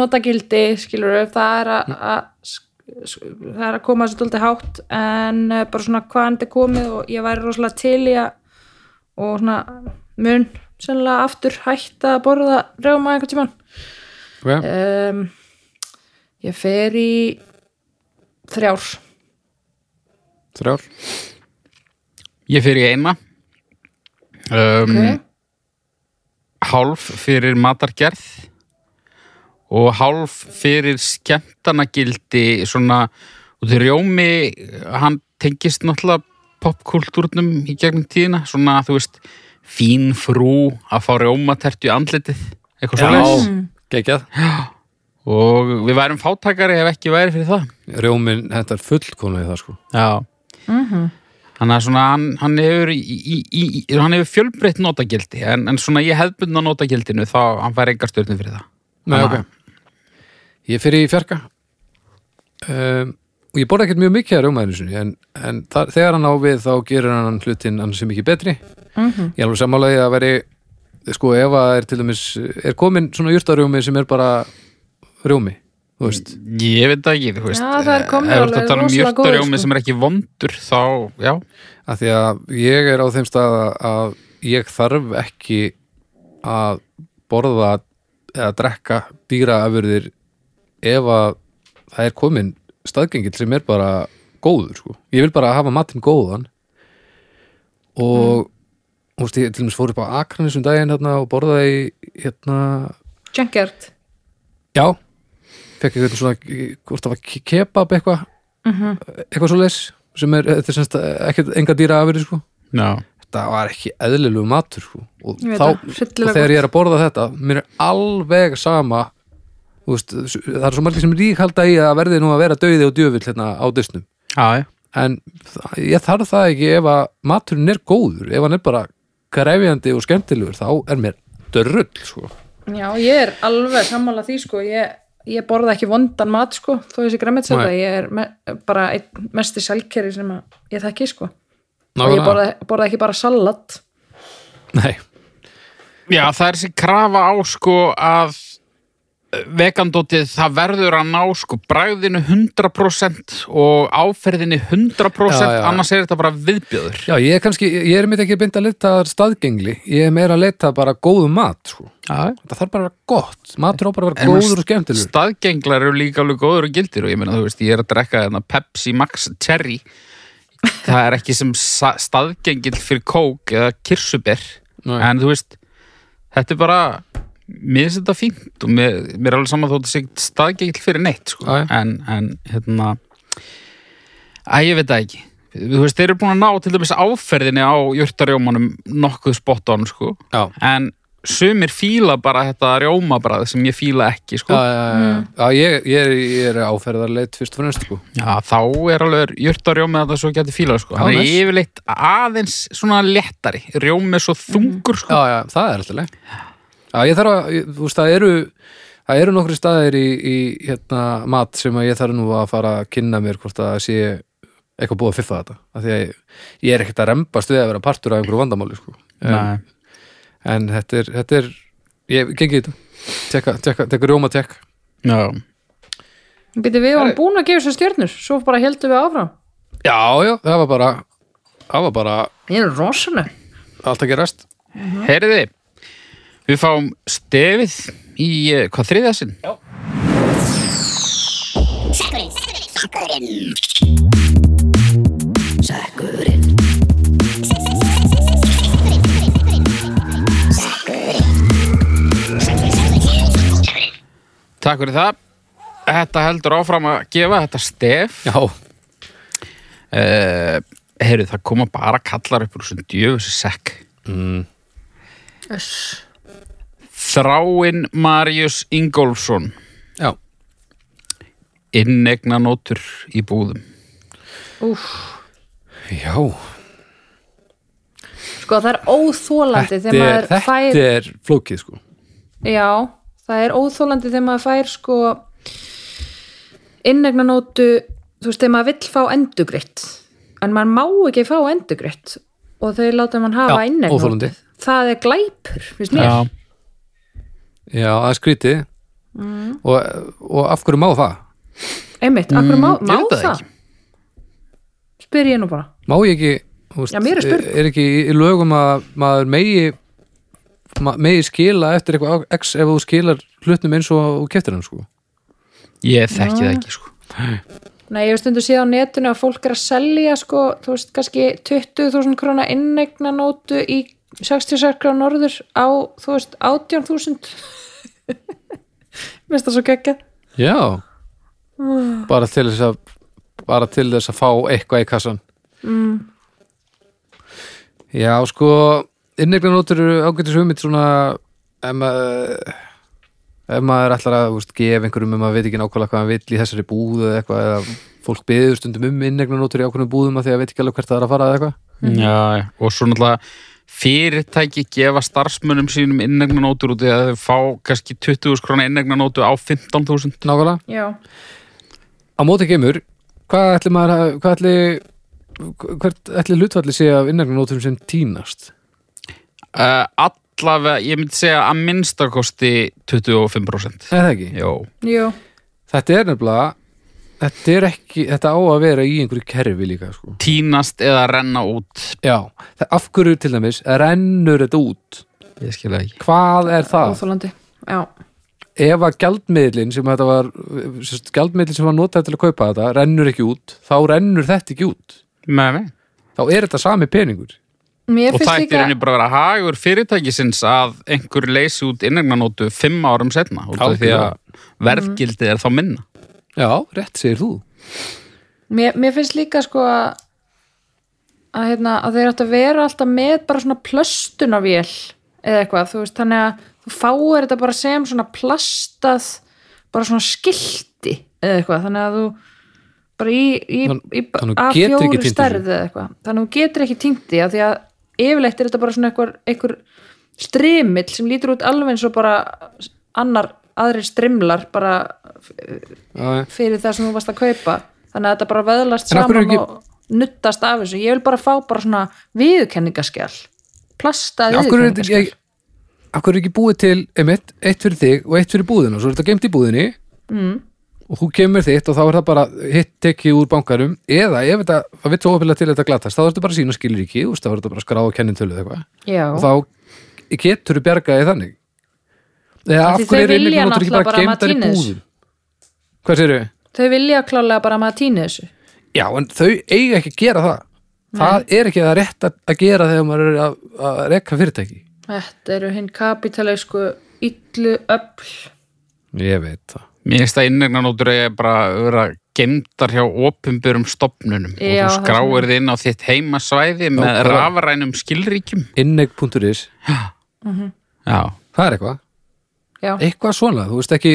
notagildi, skilur við það er að, að sk- sk- það er að koma þessu dóldi hátt en eh, bara svona hvaðan þetta er komið og ég væri rosalega til í að og svona mun sennilega aftur hætta að borða rjóma einhvern tímann
okay.
um, ég fer í þrjár
þrjár
Ég fyrir í eina um,
okay.
Mhm.
Hálf fyrir matargerð og hálf fyrir skemmtanagildi svona og því rjómi, hann tengist náttúrulega popkultúrnum í gegnum tíðina, svona þú veist fín frú að fá rjómatertu í andlitið, eitthvað svo leis
geggjað,
og við værum fátakari ef ekki væri fyrir það
rjómin þetta er fullkomlega í það sko
Já Þannig að svona hann, hann hefur í, í, í, í- hann hefur fjölbreytt notagildi en, en svona ég hefðbundna notagildinu þá hann fær engar stjörnum fyrir það
Nei,
Þannig að-
ok. Ég fyrir í fjarka um, og ég borða ekkert mjög mikið að rjómaðinu sinni en, en þar, þegar hann á við þá gerir hann hlutin hann sem ekki betri Ég er alveg sammálaði að veri sko ef að er til dæmis er komin svona jurtarjómi sem er bara rjómi, þú veist
Ég veit það ekki, þú veist
Já, það er komnir
Ef þú ert
alveg
að tala um
rosalega góðir,
jörtarjómi
sko.
sem er ekki vondur þá, já,
að því að ég er á þeim stað að ég þarf ekki að borða eða drekka dýraafurðir ef að það er komin staðgengil sem er bara góður sko. ég vil bara hafa matinn góðan og þú veist, ég til dæmis fór upp á Akranis um daginn hérna, og borðaði hérna,
Junkert
já fekk eitthvað svona, hvort það var ke- kebab eitthvað eitthvað svo leis sem er, þetta er semst ekki enga dýra afur sko.
já
þetta var ekki eðlilegu matur sko. og,
Ég veit
þá,
það,
og
hryllilega
þegar ég er að borða þetta mér er alveg sama þú veist, það er svo margir sem ríkhalda í að verði nú að vera dauði og djöfull hérna á disnum
Já, já,
en það- ég þarf það ekki ef að maturinn er góður, ef hann er bara grefjandi og skemmtilegur, þá er mér dörrull, sko
Já, ég er alveg sammála því sko, ég, ég borða ekki vondan mat sko, þó þessi græmitsæta,
Nei.
ég er me bara einn mesti sælkeri sem að ég þekki sko. Og ég
Nákvæmlega.
borða, borða ekki bara salat.
Nei,
já, það er þessi krafa á sko að vegandótið það verður að ná sko bragðinu 100% og áferðinu 100%
Já, já.
annars er þetta bara viðbjöður
já, ég er kannski ég er mitt ekki beint að leita að staðgengli ég er meira að leita bara góðum mat, sko
Já,
þetta þarf bara að vera gott, matur á bara að vera
En maður
góður og skemmtilegur
staðgenglar eru líka alveg góður og gildir og ég meina þú veist, ég er að drekka þarna Pepsi Max Cherry það er ekki sem sa- staðgengill fyrir kók eða kirsuber
Nei.
en þú veist, þetta er bara mér finnst þetta fínt og mér, mér er alveg saman þó að þetta sé ekkert staðgengil fyrir neitt sko.
Já, já.
en, en hérna að ég veit það ekki þú veist, þeir eru búin að ná til dæmis áferðinni á jörtarjómanum nokkuð spot on sko.
já,
en sumir fíla bara þetta rjómabrað sem ég fíla ekki
já,
sko.
já, já.
Mm.
já ég, ég, er, ég er áferðarleit fyrst og fremst sko.
Já, þá er alveg jörtarjómi að það svo getur fíla sko.
Já,
hann er
næs.
yfirleitt aðeins svona léttari rjómi er svo þungur sko.
Mhm. já, já, það er alltaf leið já, ég þarf að, ég- þú veist, það eru það eru nokkri staðir í, í hérna, mat sem að ég þarf nú að fara að kynna mér hvort að sé eitthvað búið að fiffa þetta af því að ég, ég er ekkert að rembast við að vera partur af einhverju vandamáli sko. en,
Nei.
en þetta er, þetta er ég gengi þetta tekka, tekka, tekka rjóma tekk
Já.
Býti, við varum búin að gefa sér stjörnur, svo bara heldum við áfram.
já, já, það var bara það var bara
Ég er rosaleg.
allt að gerast
Heyriði, við fáum stefið í eh, hvað þriðja sinn?
Sækurinn Sækurinn Sækurinn Sækurinn
Takk fyrir það. Þetta heldur áfram að gefa þetta stef.
já,
Uh, Heyrið, það koma bara kallar upp úr þessum djöfusi sekk. Mm. Þráinn Marius Ingólfsson,
já,
innegnanótur í búðum.
já
Sko, það er óþólandi
þetta
þegar
er,
maður fær...
þetta er flókið sko
Já, það er óþólandi þegar maður fær sko innegnanótu þú veist, þegar maður vill fá endugritt en maður má ekki fá endugritt og þau láta mann hafa
Já,
innegnanótu
óþolandi.
það er glæpur, finnst mér
Já, það er skrítið
Mm.
og, og af hverju má það?
einmitt, akkur má,
Mm, ég
má
veit það
það, spyr ég nú bara
Má ég ekki þú veist,
Já, mér er spurn.
ekki í- í lögum að maður megi ma- megi skila eftir eitthvað á- x ef þú skilar hlutnum eins og þú keftir hann sko
Ég þekki það ekki, sko.
Nei, ég hef stundu séð á netinu að fólk er að selja sko, þú veist, kannski 20.000 króna innegnanótu í 66 króna norður á, þú veist, 18.000 Mér finnst það svo geggjað
Já bara til þess að bara til þess að fá eitthvað í kassan mm. Já, sko inneglanótur eru ágætis hugmynd svona ef maður ef maður ætlar að þú veist, gefa einhverjum um að veit ekki nákvæmlega hvað hann vill í þessari búð eða eitthvað eða fólk beður stundum um inneglanótur í ákveðnum búðum að því að veit ekki alveg hvert það er að fara eða eitthvað
Já, já. og svo náttúrulega fyrirtæki gefa starfsmönnum sínum innegnanótur út í að þau fá kannski 20.000 krona innegnanótu á 15.000
Nákvæmlega
Já,
á móti kemur, hvað ætli maður að- hvað ætli hvert ætli hlutfalli sé af inneglanóturum sem tínast?
uh, allavega, ég myndi segja að minnstakosti 25%
Er það ekki?
Jó,
jú,
þetta er nefnilega þetta er ekki, þetta á að vera í einhverju kerfi líka sko.
tínast eða renna út
já, það, af hverju til dæmis rennur þetta út
ég skil það ekki
hvað er það?
óþólandi Já,
ef að gjaldmiðlin sem þetta var sérst, gjaldmiðlin sem var notað til að kaupa þetta rennur ekki út, þá rennur þetta ekki út
með mig
þá er þetta sami peningur
mér
og
finnst
það
líka
er henni bara að vera hagur fyrirtækisins að einhver leysi út innegnanótu fimm árum setna út af því að verðgildið er þá minna
já, rétt segir þú
mér, mér finnst líka sko að að, hérna, að þeir átt að vera alltaf með bara svona plöstunavél eða eitthvað, þú veist, þannig að þú fáir þetta bara sem svona plastað bara svona skilti eða eitthvað, þannig að þú bara í, í,
Þann-
í
þannig þú getur ekki týnt þessu.
stærð eða eitthvað þannig að þú getur ekki týnt því að því að yfirleitt er þetta bara svona einhver, einhver strimill sem lítur út alveg eins og bara annar, aðrir strimlar bara
já,
fyrir það sem þú varst að kaupa þannig að þetta bara vöðlast
En af hverju
saman
ekki-
og nuttast af þessu ég vil bara fá bara svona viðurkenningaskjál plastað
af hverju er þetta ekki af hverju er ekki búið til einmitt, eitt fyrir þig og eitt fyrir búðina og svo er þetta geimt í búðinni mm. og þú kemur þitt og þá er það bara hitt tekið úr bankarum eða ef þetta, það vitt svo opilega til að þetta glatast þá er þetta bara sína skilur ekki, úst, þá er þetta bara skráð og kennintölu eða eitthvað og
já,
þá getur þú bjargaði þannig eða
Af því
af hverju
þau
er
vilja
innlegnótur ekki
náttúrulega
bara
bara að
geimtar í
maður týni þessu.
búðum hvað séru?
þau vilja klálega bara að maður týni þessu
Já, en þau eiga ekki að gera það það er ekki það rétt að, að gera þegar maður er að, að rekka fyrirtæki
þetta eru hinn kapitalísku illu öll
ég veit það
Mér finnst að innregnanótur er bara að vera gemdar hjá opumburum stopnunum og
Já, það
þú
er
skráir þið inn á þitt heimasvæði með
Já, bara-
rafrænum skilríkjum.
innegg.is,
Mhm.
Já,
það er eitthvað
Já,
eitthvað svona, þú veist ekki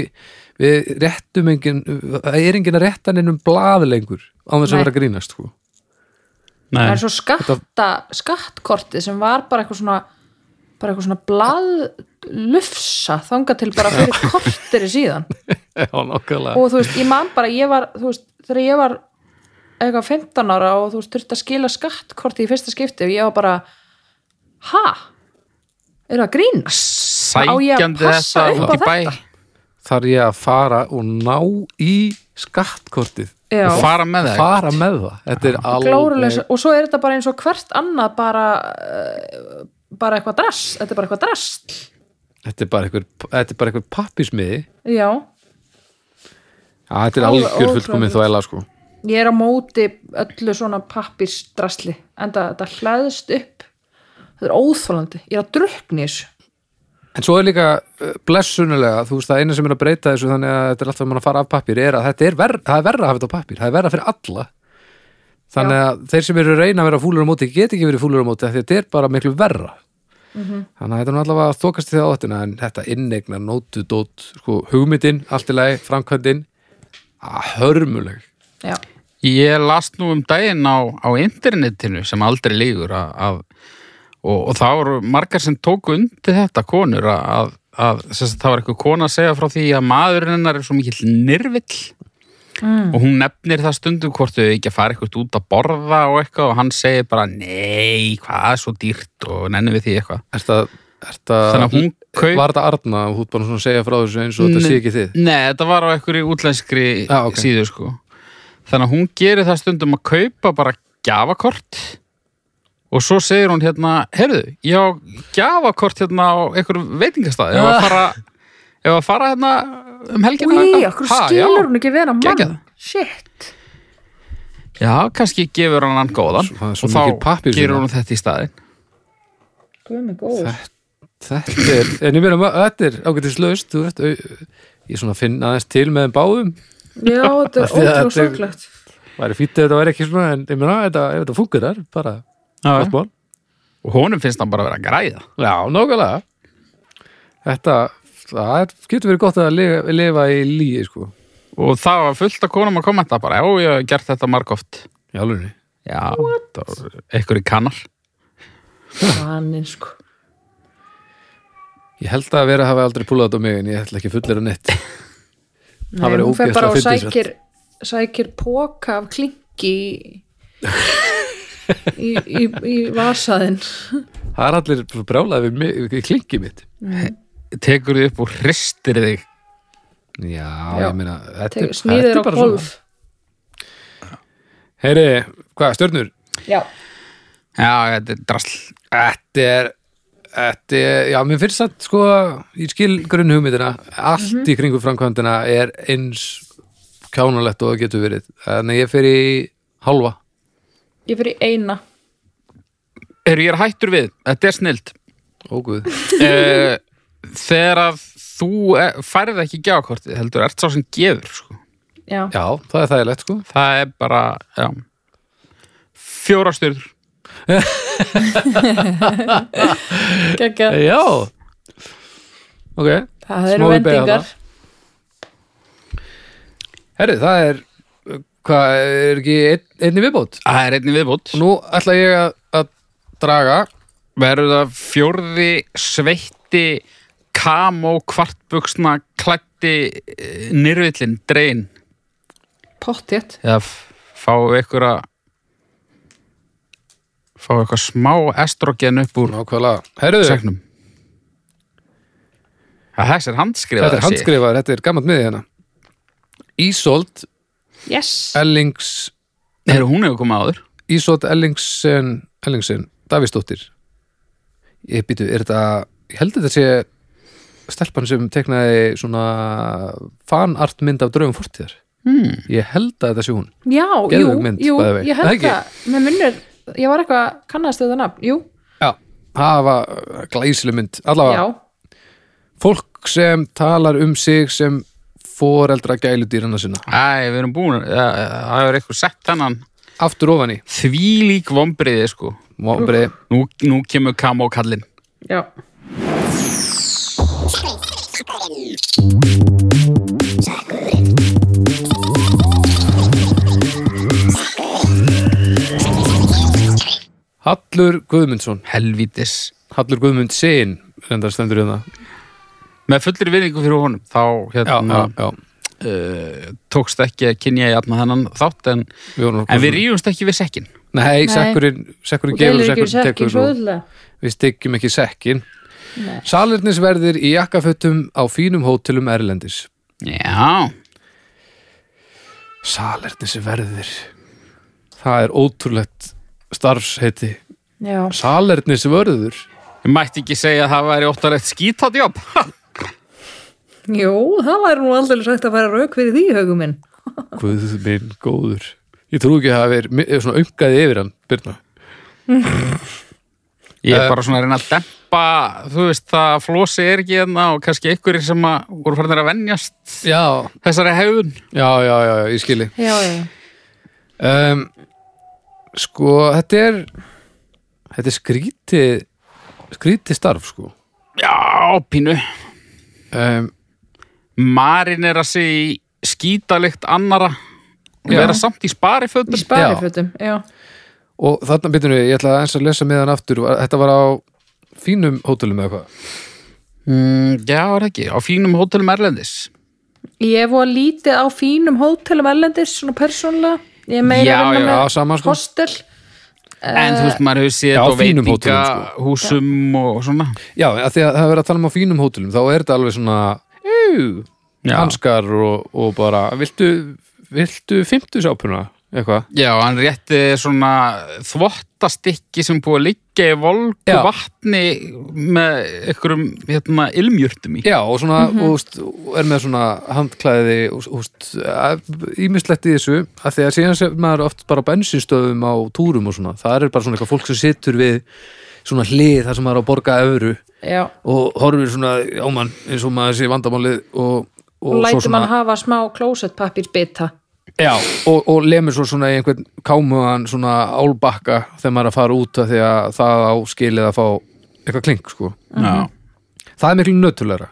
við réttum engin það er engin að rétta neinum blað lengur á þess að
Nei.
vera að grínast sko.
það
nei,
er svo skatta, skattkortið sem var bara eitthvað svona bara eitthvað svona blað lufsa þanga til bara fyrir korteri síðan
Já, nokkulega
og þú veist, ég man bara, ég var þú veist, þegar ég var eitthvað 15 ára og þú veist, þurfti að skila skattkorti í fyrsta skipti og ég var bara ha? Er það að grínast? Á ég að
sækjandi
passa
þetta
upp
út
á
í bæ
þetta?
þarf ég að fara og ná í skattkortið
Já,
og fara með það.
fara með það, þetta er
glórulegs
alveg
og svo er þetta bara eins og hvert annað bara eh, bara eitthvað drast þetta er bara eitthvað drast
þetta er bara einhver, þetta er bara einhver pappismiði
já,
Já, þetta er
Alveg
algjör fullkomin
ótrúlegt.
þvæla sko.
ég er á móti öllu svona pappirsdrasli enda þetta hlaðist upp þetta er óþólandi, ég er að drukni þessu
En svo er líka uh, blessunulega, þú veist það eina sem er að breyta þessu þannig að þetta er alltaf mann að fara af pappir er að þetta er, ver, það er verra að hafa þetta á pappir, það er verra fyrir alla. Þannig að þeir sem eru að reyna að vera fúlur á móti get ekki verið fúlur á móti af því að þetta er bara miklu verra. Þannig að þetta er nú allavega að þokast í því áttina en þetta innegna nótu dót, sko, hugmyndin, allt í lagi, framkvæmdin, að hörmuleg.
já,
Ég las nú um daginn á, á internetinu sem aldrei lígur að, að, og, og það voru margar sem tóku undir þetta konur að, að, að sem sagt, það var eitthvað kona að segja frá því að maðurinn hennar er svo mikill nirvill og hún nefnir það stundum hvort þau ekki að fara eitthvað út að borða og eitthvað og hann segir bara nei, hvað er svo dýrt og nennum við því eitthvað.
Er það, er það,
Þannig að hún kaup-
var þetta Arna og hún bara svona að segja frá þessu eins og þetta sé ekki þið?
Nei, þetta var á einhverju útlenskri
Já, Ah, ok.
síðu sko. Þannig að hún gerir það stundum að kaupa bara gjafakort og svo segir hún hérna, heyrðu, ég á gjafakort hérna á einhverju
Ah.
veitingastæði ef að fara, ef að fara hérna um helgina.
Úi, okkur
Ha, já.
skilur hún ekki vera
Geggjað.
mann Shit
Já, kannski gefur hann hann góðan
Svo- það er svo
og
mikil
þá
pappír sem
gerir
það.
hún þetta í staðin.
Guð mig góður
Þetta er, en ég meina, ma- þetta er ágættis laust, þú veist, au- ég svona finn aðeins til með þeim báðum,
Já, þetta er
Af því að
ótrúlega
þetta er-
sorglegt
væri fýtt ef þetta væri ekki svona, en ég meina, þetta, ef þetta fungur þar, bara, gott mál.
Og honum finnst hann bara að vera að græða.
Já, nákvæmlega. Þetta, það er- getur verið gott að lifa, lifa í líi, sko,
Og það var fullt af konum að kommenta bara, já, ég hef gert þetta margóft.
í alvegni.
Já, það var einhverju kannar.
Manninn sko
Ég held að vera hafa aldrei púlað þetta á mig, en ég ætla ekki fullir að neitt.
(laughs) Nei,
væri
hún fer bara og
ógeðslega fyndið,
sækir sækir póka af klinki í, í, í, í vasaðinn
Það er allir brjálaði við, mig- við klingi mitt.
tekur þið upp og hristir þig
Já,
Já.
ég meina, þetta, er- þetta
smíðir
er
á
bara
golf
svona. Heyri, hvað, stjörnur?
Já,
já, þetta er drasl
Þetta er, þetta er, já, mér finnst að sko, ég skil grunn hugmyndina, allt
Mhm.
í kringum framkvæmdina er eins kjánulegt og það getur verið. Þannig að ég fer í halva.
ég fyrir eina
er ég er hættur við, þetta er
(laughs)
snilt
Óguð.
uh, þegar að þú er- færð ekki gjákortið heldur, ert sá sem gefur sko.
Já,
Já, það er þægilegt sko.
það er bara já, fjóra styrður
geggjað
Já. Ok.
Það
smá
eru
við beygja
vendingar
það. Herri, það er, hvað, er ekki ein, einni viðbót?
það er einnig viðbútt
Og nú ætla ég að, að draga.
verður það fjórði sveitti kamó eh, kvartbuksna klætti nýrvillin, drein
Pottjett
eða f- fá einhverja fá eitthvað smá estrogen upp úr
Nákvæmlega. Herriðu,
segnum að þessi er handskrifað
þetta er handskrifaður, þetta er gammalt miðið hérna. Ísolt
Yes
Eh, Ellings
Heru, hún hefur komið áður
Ísot Ellingsen, Ellingsen Davíðsdóttir ég býtu, er þetta ég held að þetta sé stelpan sem teknaði svona fanartmynd af draugum fortíðar
hmm.
ég held að þetta sé hún
Já, jú,
Geðveik mynd,
jú,
by the way.
ég
Það
held
ekki?
það Mér minnir, ég var eitthvað kannast þetta nafn Jú,
já, það var glæsileg mynd
já
allavega, fólk sem talar um sig sem foreldra gæludýrana sinna
Æ, við erum búin að- að- að- það hefur eitthvað sett hennan
aftur ofan í
því lík vombriði sko
Vombriði.
nú, nú kemur Kamó kallinn
já,
Hallur Guðmundsson
helvítis
Hallur Guðmundsson reyndar stendur hérna
með fullri virðingu fyrir honum þá
já,
hérna,
já, já.
Uh, tókst ekki að kynja í afna þennan þátt en,
Við vorum
en við rýjumst ekki við sekkin
Nei,
Nei.
sekkurinn, sekkurinn
og
gefur
deilir ekki
sekkurinn
sekki
tekur svo
svoðlega
Við styggjum ekki sekkin
Nei.
Salernisverðir í jakkafötum á fínum hótelum Erlendis
já,
Salernisverðir Það er ótrúlegt starfsheiti
já,
Salernisvörður
ég mætti ekki segja að það væri óttalegt skítat jobb
jú, það væri nú aldrei sagt að fara rauk fyrir því haugum minn
Guð minn góður Ég trú ekki að það er, er svona umgaði yfir hann Birna
ég
Eh.
er bara svona að reyna að dempa þú veist það flosi er ekki hérna og kannski einhverjir sem að voru farinir að venjast
Já,
þessari hefun
já, já, já, já ég skili
já, já,
um, Sko, þetta er Þetta er skrítið Skrítið starf, sko
já, pínu
um,
Marin er að segja skítalikt annara og
Já.
vera samt í spari
í
fötum
sparifötum já,
Og þarna byrjum við, ég ætla eins að lesa með hann aftur Var- Þetta var á fínum hótelum eða hvað
mm, já, er það ekki, á fínum hótelum Erlendis
ég voru lítið á fínum hótelum erlendis, svona persónlega ég er meira
Já,
að vinna
já,
með
sama, sko.
hostel
En þú veist, maður hefur séð
Já,
þetta á
fínum hótelum,
veitingahúsum og svona.
Já, af því að það er verið að tala um á fínum hótelum Þá er þetta alveg svona Jú,
Já.
hanskar og, og bara Viltu, viltu fymtu sápuna? Eitthvað
Já, hann rétti svona þvottastikki sem búið að liggja í volgu
Já.
vatni með einhverjum hérna, ilmjörtum í.
Já, og svona, mm og er með svona handklæði og úst, ímislegt í þessu, af því að síðan sem maður oft bara á bensinstöðum á túrum og svona, það er bara svona eitthvað fólk sem situr við svona hlið þar sem maður er að borga öfru
já,
og horfir svona á mann eins og maður sé vandamálið og, og,
og
svo
lætur
svona,
mann hafa smá klósettpappir bita
já, og, og lemur svo svona í einhvern kámuðan svona álbakka þegar maður er að fara út af því að það á skilið að fá eitthvað klink, sko.
Já,
Það er miklu nötulegra.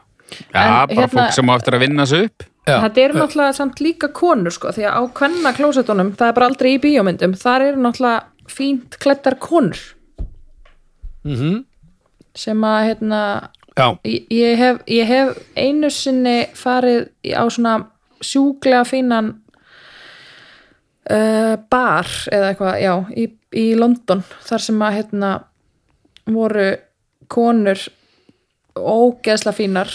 Já bara
En hérna-
fólk sem á eftir að vinna sig upp.
Já.
Þetta eru náttúrulega samt líka konur sko, því að á kvenna klósettunum, það er bara aldrei í bíómyndum, þar eru náttúrulega fínt klettar konur
Mhm.
-hmm. sem að hérna,
Já.
ég, ég, hef, ég hef einu sinni farið í- á svona sjúklega fínan uh, bar eða eitthvað, já, í, í London þar sem að hérna voru konur ógeðsla fínar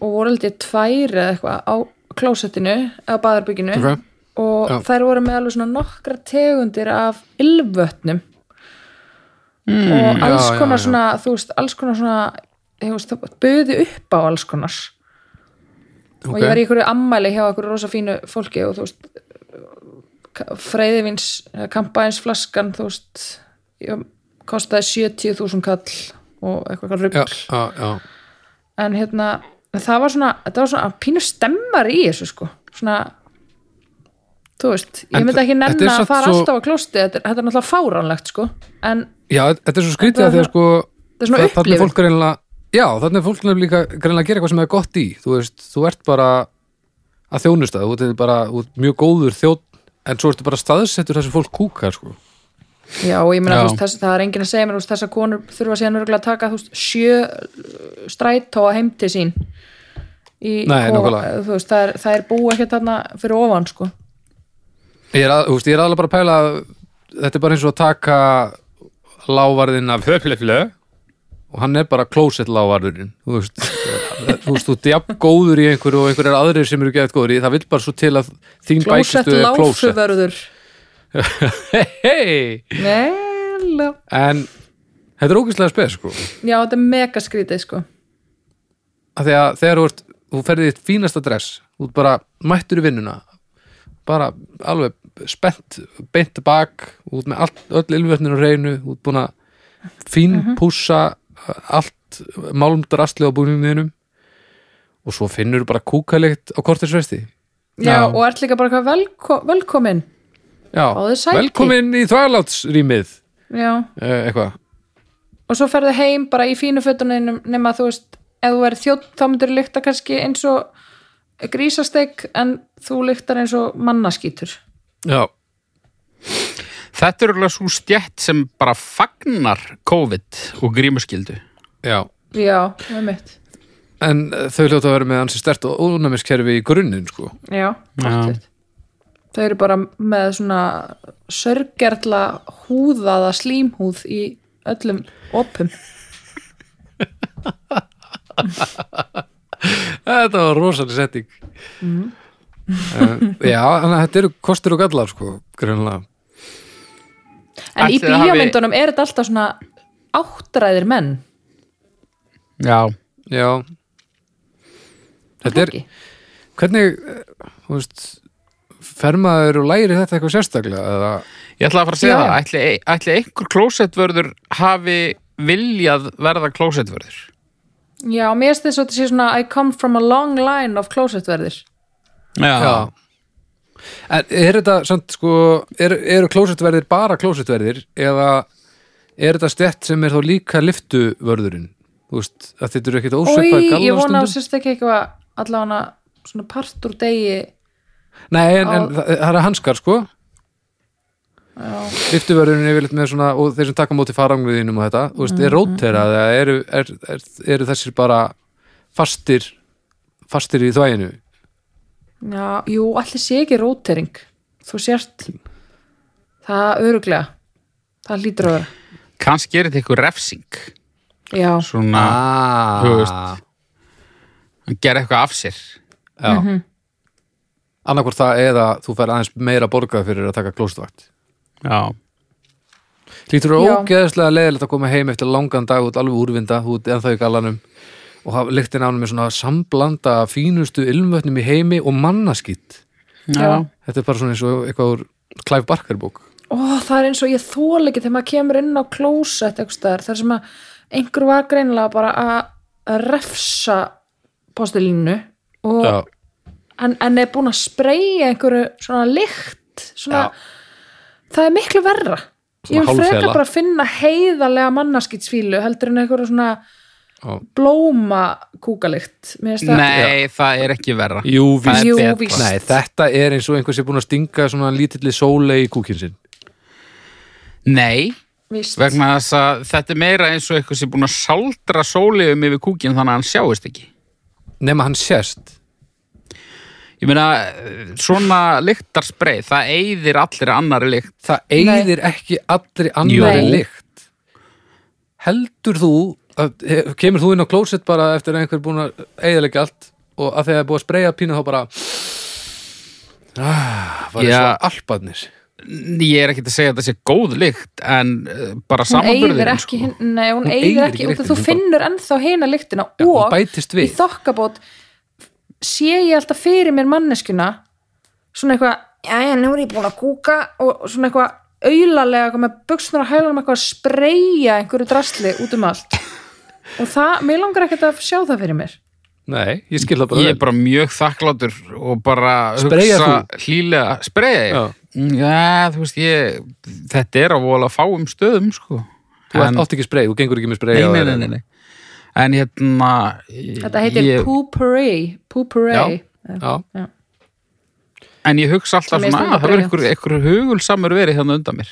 og voru held ég tvær eða eitthvað á klósettinu á baðarbygginu
Ok.
og
Já.
þær voru með alveg svona nokkra tegundir af ylvötnum og alls
Mm, já,
konar
já.
svona þú veist, alls konar svona þú veist, það böði upp á alls konar og
Ok.
ég var í einhverju ammæli hjá einhverju rosa fínu fólki og þú veist freyðivins, kampaðins flaskan eh, þú veist ég, kostaði 70.000 kall og eitthvað
Já,
rugl
já, já.
en hérna það var svona, það var svona pínu stemmar í þessu sko svona þú veist, ég
En
myndi ekki
þetta er
nenn að
samt
fara
svo-
alltaf á klósti þetta, er- þetta er náttúrulega fáránlegt sko en
Já, þetta er svo skrítið
Þetta
að því að
var
sko
er
þa-
svona
þarna er
upplifun.
fólk greinlega Já, þannig er fólk greinlega, greinlega að gera eitthvað sem er gott í Þú veist, þú ert bara að þjónusta, þú ert bara þú ert mjög góður þjón en svo ertu bara staðsettur þar sem fólk kúkar sko.
já, og ég meina
Já.
þú veist, þess, það er enginn að segja mér þú veist, þessar konur þurfa síðan örgulega að taka þú veist, sjö uh, strætóa heim til sín í
Nei,
kofa.
nákvæmlega.
þú veist, það er, það er búið ekkert þarna fyrir ofan sko
Ég er, að, þú veist, ég er aðlega bara að pæla að þetta er bara eins og að taka lávarðin af höfleflö og hann er bara closet lávarðurinn þú veist, þú veist, þú ert jafn góður í einhverju og einhverju aðrir sem eru geðt góður í það vil bara svo til að þín
klósett
bækistu er closet
láfuverður
Hei!
Nei, lá-
en þetta er ógeðslega spes sko
já, þetta er megaskrítið sko
að því að þegar þú ert þú ferði þitt fínasta dress þú ert bara mættur í vinnuna bara alveg spennt beint til bak, út með allt, öll ylvötnir á reynu, út búin að fín pússa allt málmdrasli á búningnum þínum og svo finnur bara kúkalikt á kortisvesti
já,
Já.
og ert líka bara eitthvað velko, velkomin
Já,
Fáðu sæti.
velkomin í þvælátsrýmið
já,
eh, eitthvað,
og svo ferðu heim bara í fínu fötunum nema þú veist, ef þú verður þjótt þá myndur lykta kannski eins og grísasteik en þú lyktar eins og mannaskítur
já,
Þetta er alveg svo stjætt sem bara fagnar COVID og grímuskildu.
já
já, með mitt
en eh, þau hljóta að vera með hansi stert og ónæmiskerfi í grunninn sko
já,
Já.
já. þau eru bara með svona sörgerla húðaða slímhúð í öllum opum
Þetta var rosalega setting
Mhm.
mm. Já, þannig að þetta eru kostur og gallar sko, grunlega
en í
Ætli það hafi-
bíómyndunum er þetta alltaf svona áttræðir menn
Já.
Já Þetta er,
ekki?
hvernig eh, þú veist, fer maður og læri þetta eitthvað sérstaklega eða,
Ég ætla að fara að segja
Já.
það. Ætli, ætli einhver klósettvörður hafi viljað verða klósettvörður?
já, mér finnst þess að þetta sé svona I come from a long line of closetverðir
Já En er þetta samt sko er, eru klósetverðir bara klósetverðir eða er þetta stett sem er þá líka liftuvörðurinn þú veist, að þetta eru ekkit
Ói,
ósvipað
ég
gallar
vona á
stundum
sérst ekki eitthvað allavega svona part úr degi
Nei, en, en
á-
það, það er hanskar sko
já,
Lyftuvörðurinn er yfirleitt með svona og þeir sem taka á móti farangriðinum og þetta þú veist,
Mhm.
er róterað eða eru, er, er, eru þessir bara fastir fastir í þvæginu
já, jú, allir sé ekki rótering þú sért það öruglega það hlýtur að vera
Kanski er þetta einhver refsing.
já,
Svona,
ah,
þú veist. hann gera eitthvað af sér.
Já mm það eða þú fær aðeins meira borgað fyrir að taka klóstvakt
Já.
Lítur þú
Já.
ógeðslega leiðilegt að koma heim eftir langan dag út alveg úrvinda, þú út ennþá í gallanum og hafa lyktin ánum með svona samblanda af fínustu ilmvötnum í heimi og mannaskýtt
Já.
Þetta er bara svona eins og eitthvað úr Clive Barker bók
ó, það er eins og ég þól ekki þegar maður kemur inn á klósett þar þar sem að einhver var greinlega bara að refsa postulínu og
Já,
en, en er búin að spreyja einhverju svona lykt svona, það er miklu verra
Svona
ég vil
hálffela.
frekar bara finna heiðarlega mannaskitsfílu heldur en einhverju svona
Já.
blóma kúkalikt
Nei, það er ekki verra.
Jú, víst.
Það er
Jú,
betra.
víst.
Nei, þetta er eins og einhver sem er búin að stinga svona lítilli sóle í kúkinn sinn.
Nei,
vegna...
vegna þess að þetta er meira eins og eitthvað sem er búin að saldra sóliðum yfir kúkinn þannig að hann sjáist ekki.
Nefn hann sést.
Ég meina, svona lyktarspreið, það eyðir allir annari lykt.
Það eyðir ekki allri annari
Jú.
lykt. Heldur þú, að, he- kemur þú inn á klósett bara eftir að einhver er búin að eyðilega allt og að þegar er búin að spreja pínu þá bara ah, var eins
Já.
og alparnir.
Ég er ekki að segja að þetta sé góð lykt, en eh, bara
hún eyðir
samanburðurinn. sko.
ekki, hinn- nei,
sko.
hún
Hún eyðir
eyðir
ekki
ekki út af
lyktinni,
þú
hún bara-
finnur ennþá hina lyktina
Já, hún
og
bætist
í
við.
þokkabót sé ég alltaf fyrir mér manneskuna svona eitthvað, já, nú er ég búin að kúka og svona eitthvað auðalega eitthvað með buksnur og hælunum eitthvað að spreyja einhverju drasli út um
(laughs)
allt og það, mér langar ekkert að sjá það fyrir mér
Nei, ég skil það bara.
Ég
vel.
er bara mjög þakklátur og bara
Spreyjar
hugsa hlýlega. Spreja ég? Mm,
Já.
Já. þú veist, ég, þetta er á vola fáum stöðum, sko.
Þú
En-
en... átt ekki sprey, þú gengur ekki með sprey.
nei,
á
nei,
þér.
nei, nei, nei. En hérna...
þetta heitir
ég-
pooperay pooperay
Já, já.
En ég hugsa alltaf
Sem er
svona að
stundum
það verður
brilliant.
einhver, einhver hugulsamur verið hérna undan mér.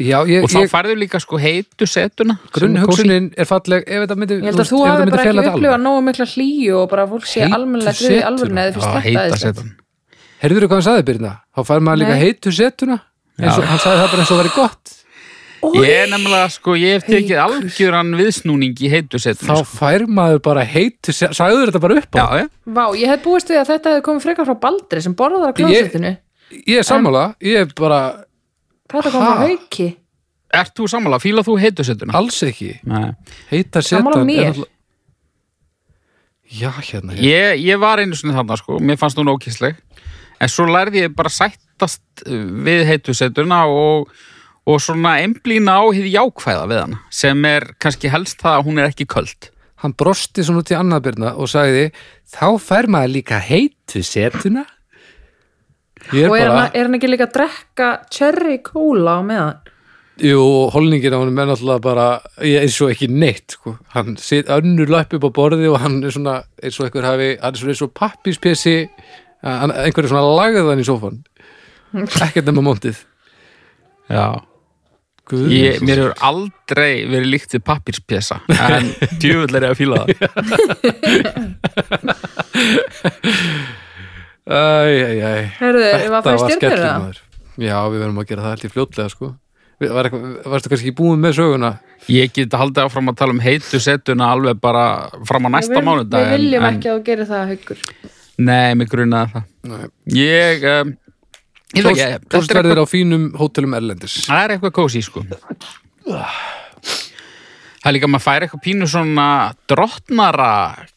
Já, ég,
Og þá
ég,
færðu líka sko heitu setuna. sem er kósí.
grunnhugsunin er falleg ef þetta myndi,
ég held
þú
að þú
ef þetta
hafi
myndi
bara
fela
ekki
þetta alveg.
upplifað nógu mikla hlýju og bara að fólk sé
Heitu
almennilega þriði
setur.
alvörinu
Já,
eða fyrst
heita
þetta
setan.
Herður þú hvað hann sagði Birna? Þá fær maður líka
Nei.
heitu setuna eins og hann sagði það bara eins og verið gott
Ég er nefnilega, sko, ég hef tekið algjöran viðsnúning í heitu
þá
setuna. Sko.
fær maður bara heitu setuna sagður þetta bara upp á
Já, já.
Vá, ég hef búist við að þetta hefði komið frekar frá Baldri sem borðar á klósettinu.
Ég er sammála, ég er bara
Þetta kom frá
Ha?
hauki.
Ert þú sammála? Fíla þú heitu setuna?
alls ekki
Nei.
heita setan
Sammála
er
mér.
náttúrulega- Já, hérna ég...
Ég, ég var einu sinni þarna, sko, mér fannst hún ókísleg. En svo lærði ég bara að sættast uh, við heitu setuna og, og svona einblína á hið jákvæða við hana, sem er kannski helst það að hún er ekki köld.
hann brosti svona út í annað byrna og sagði þá fær maður líka heit við setuna ég er
og er,
bara
hann, er hann ekki líka að drekka cherry cola á meðan
jú, holningin á hann er náttúrulega bara ég eins og ekki neitt sko. hann sit önnur löpp upp á borði og hann er svona eins og einhver hafi hann er svona eins og pappispesi einhverju svona lagðan í sófan ekkert nema móntið
Já.
Guð,
Ég, mér hefur aldrei verið líkt við pappirspjessa en djöfull er ég að fíla það
Æ, æ, æ.
Heyrðu, eigum við að fara í stjörnur, eða?
maður. Já, við verðum að gera það allt í fljótlega sko. Við- Var, eitthvað- varstu kannski ekki búin með söguna?
Ég get haldið áfram að tala um heitu setuna alveg bara fram á næsta
við,
mánudag
við viljum
en,
ekki að þú gerir það haukur
en, Nei, mig grunaði það
Nei.
Ég, um, ég veit ekki, þetta er
Klóstverðir á fínum hótelum Erlendis
Það er eitthvað kósi, sko. Það er líka að maður fær eitthvað pínu svona drottnara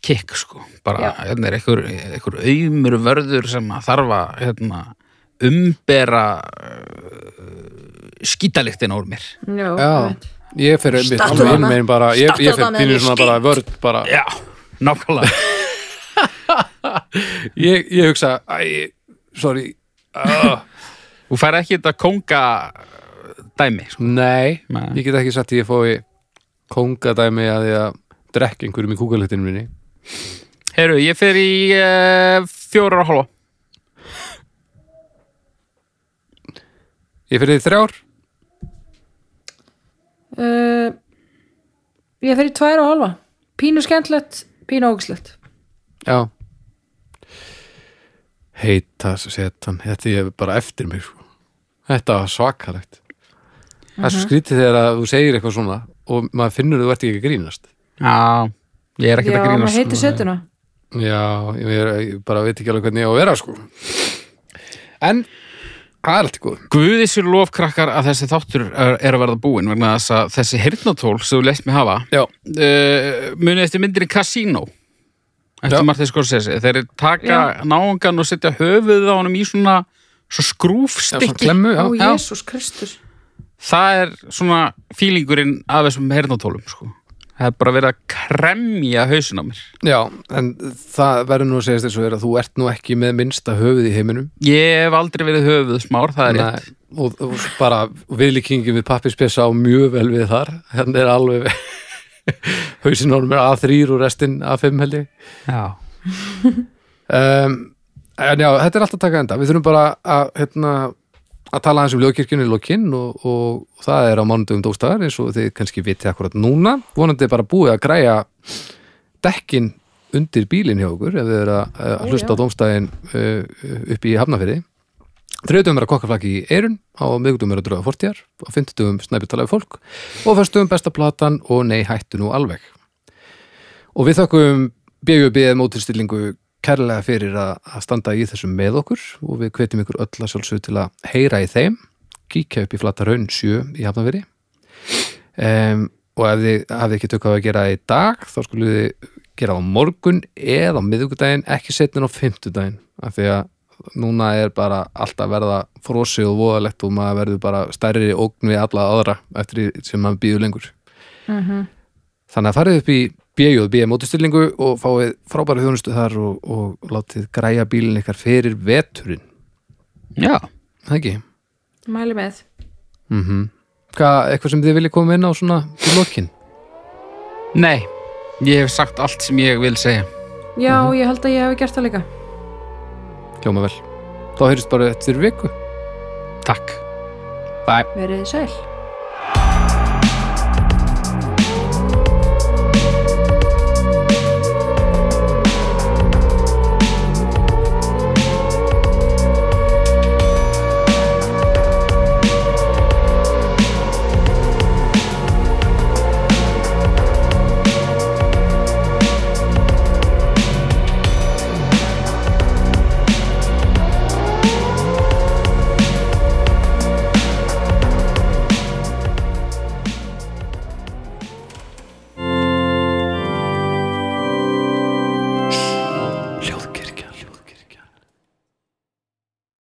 kikk, sko. Bara, hérna er eitthvað, eitthvað auðmur vörður sem að þarf að hérna, umbera uh, skítaliktina úr mér.
Já,
Já,
einmitt.
ég fer einmitt
Stattu
alveg hinn
þarna.
megin bara Ég, ég
Stattu
fer
þarna
pínu
inn í
svona bara vörð bara.
Já, nákvæmlega.
Ég, ég hugsa, æ, sorry uh,
Þú fær ekki þetta konga dæmi, sko.
Nei,
Nei.
ég get ekki sagt að ég fói kongadæmi að ég að drekk einhverjum í kúkalitinu minni
Heyrðu, ég fer í uh, fjórar og hálfa.
Ég fer í þrjár
Uh, ég fer í tvær og halva pínu skemmtlegt, pínu ógislegt
Já Heita setan Þetta ég bara eftir mig sko. Þetta var svakalegt Það er svo skrítið þegar að þú segir eitthvað svona og maður finnur að þú ert ekki að grínast
Já, ég er
Já,
ekkert að grínast.
maður heitir
sko.
setuna
Já, ég, er, ég bara veit ekki alveg hvernig ég á að vera sko En það er allt í góð
Guði sér lof krakkar að þessi þáttur er, er að verða búinn vegna þess að þessi hirtnatól sem þú leist mig hafa
Já,
uh, munið eftir myndinni Casino
Já.
eftir Martin Scorsese þeir taka
Já.
náungan og setja höfuð á honum í svona svo
það er svona
skrúfstykki
klemmu já,
Ó,
já.
Jésús Kristus
það er svona fílingurinn af þessum hirtnatólum sko. það er bara verið að kremja hausin á mér
já, en það verður nú að segjast eins og er að þú ert nú ekki með minnsta höfuð í heiminum
ég hef aldrei verið höfuð smár, það er rétt
Nei, og, og bara viðlíkingin við pappispessa á mjög vel við þar hann er alveg (laughs) hausinn honum er A3 og restinn A5 held ég
Já.
um, en já, þetta er alltaf taka enda við þurfum bara að hérna, að tala aðeins um lögkirkjunni lokinn og, og, það er á mánudugum dóstaðar eins og þið kannski vitið akkurat núna vonandi er bara búið að græja dekkin undir bílinn hjá okkur ef þið eru að, að hlusta á dómstæðin uh, upp í Hafnafyrði Þriðutum er að kokkaflaki í Eirun, á miðgutum er að dröða fortjar, á fimmtutum snæpi talaði fólk og fyrstum besta platan og nei hættu nú alveg. Og við þökkum BJB mótilstillingu kærlega fyrir að að standa í þessum með okkur og við hvetjum ykkur öll að sjálfsög til að heyra í þeim, kíkja upp í flata raun 7 í hafnaveri um, og ef þið hafið ekki tökkað að gera það í dag þá skulum þið gera það á morgun eða á miðvikudaginn, ekki setnin á fimmtudaginn af því að núna er bara allt að verða frosið og voðalegt og maður verður bara stærri ógn við alla aðra eftir því sem maður býður lengur þannig að farið upp í BJB mótistillingu og fáið frábæra þjónustu þar og, og látið græja bílinn ykkar fyrir veturinn
Já.
það ekki?
mæli með
Mm Hvað, eitthvað sem þið viljið koma inn á svona í lokin?
Nei, ég hef sagt allt sem ég vil segja
Já, ég held að ég hef gert það líka
Hljóma vel. Þá heyrjumst bara eftir viku.
Takk Bye
Verið þið sæl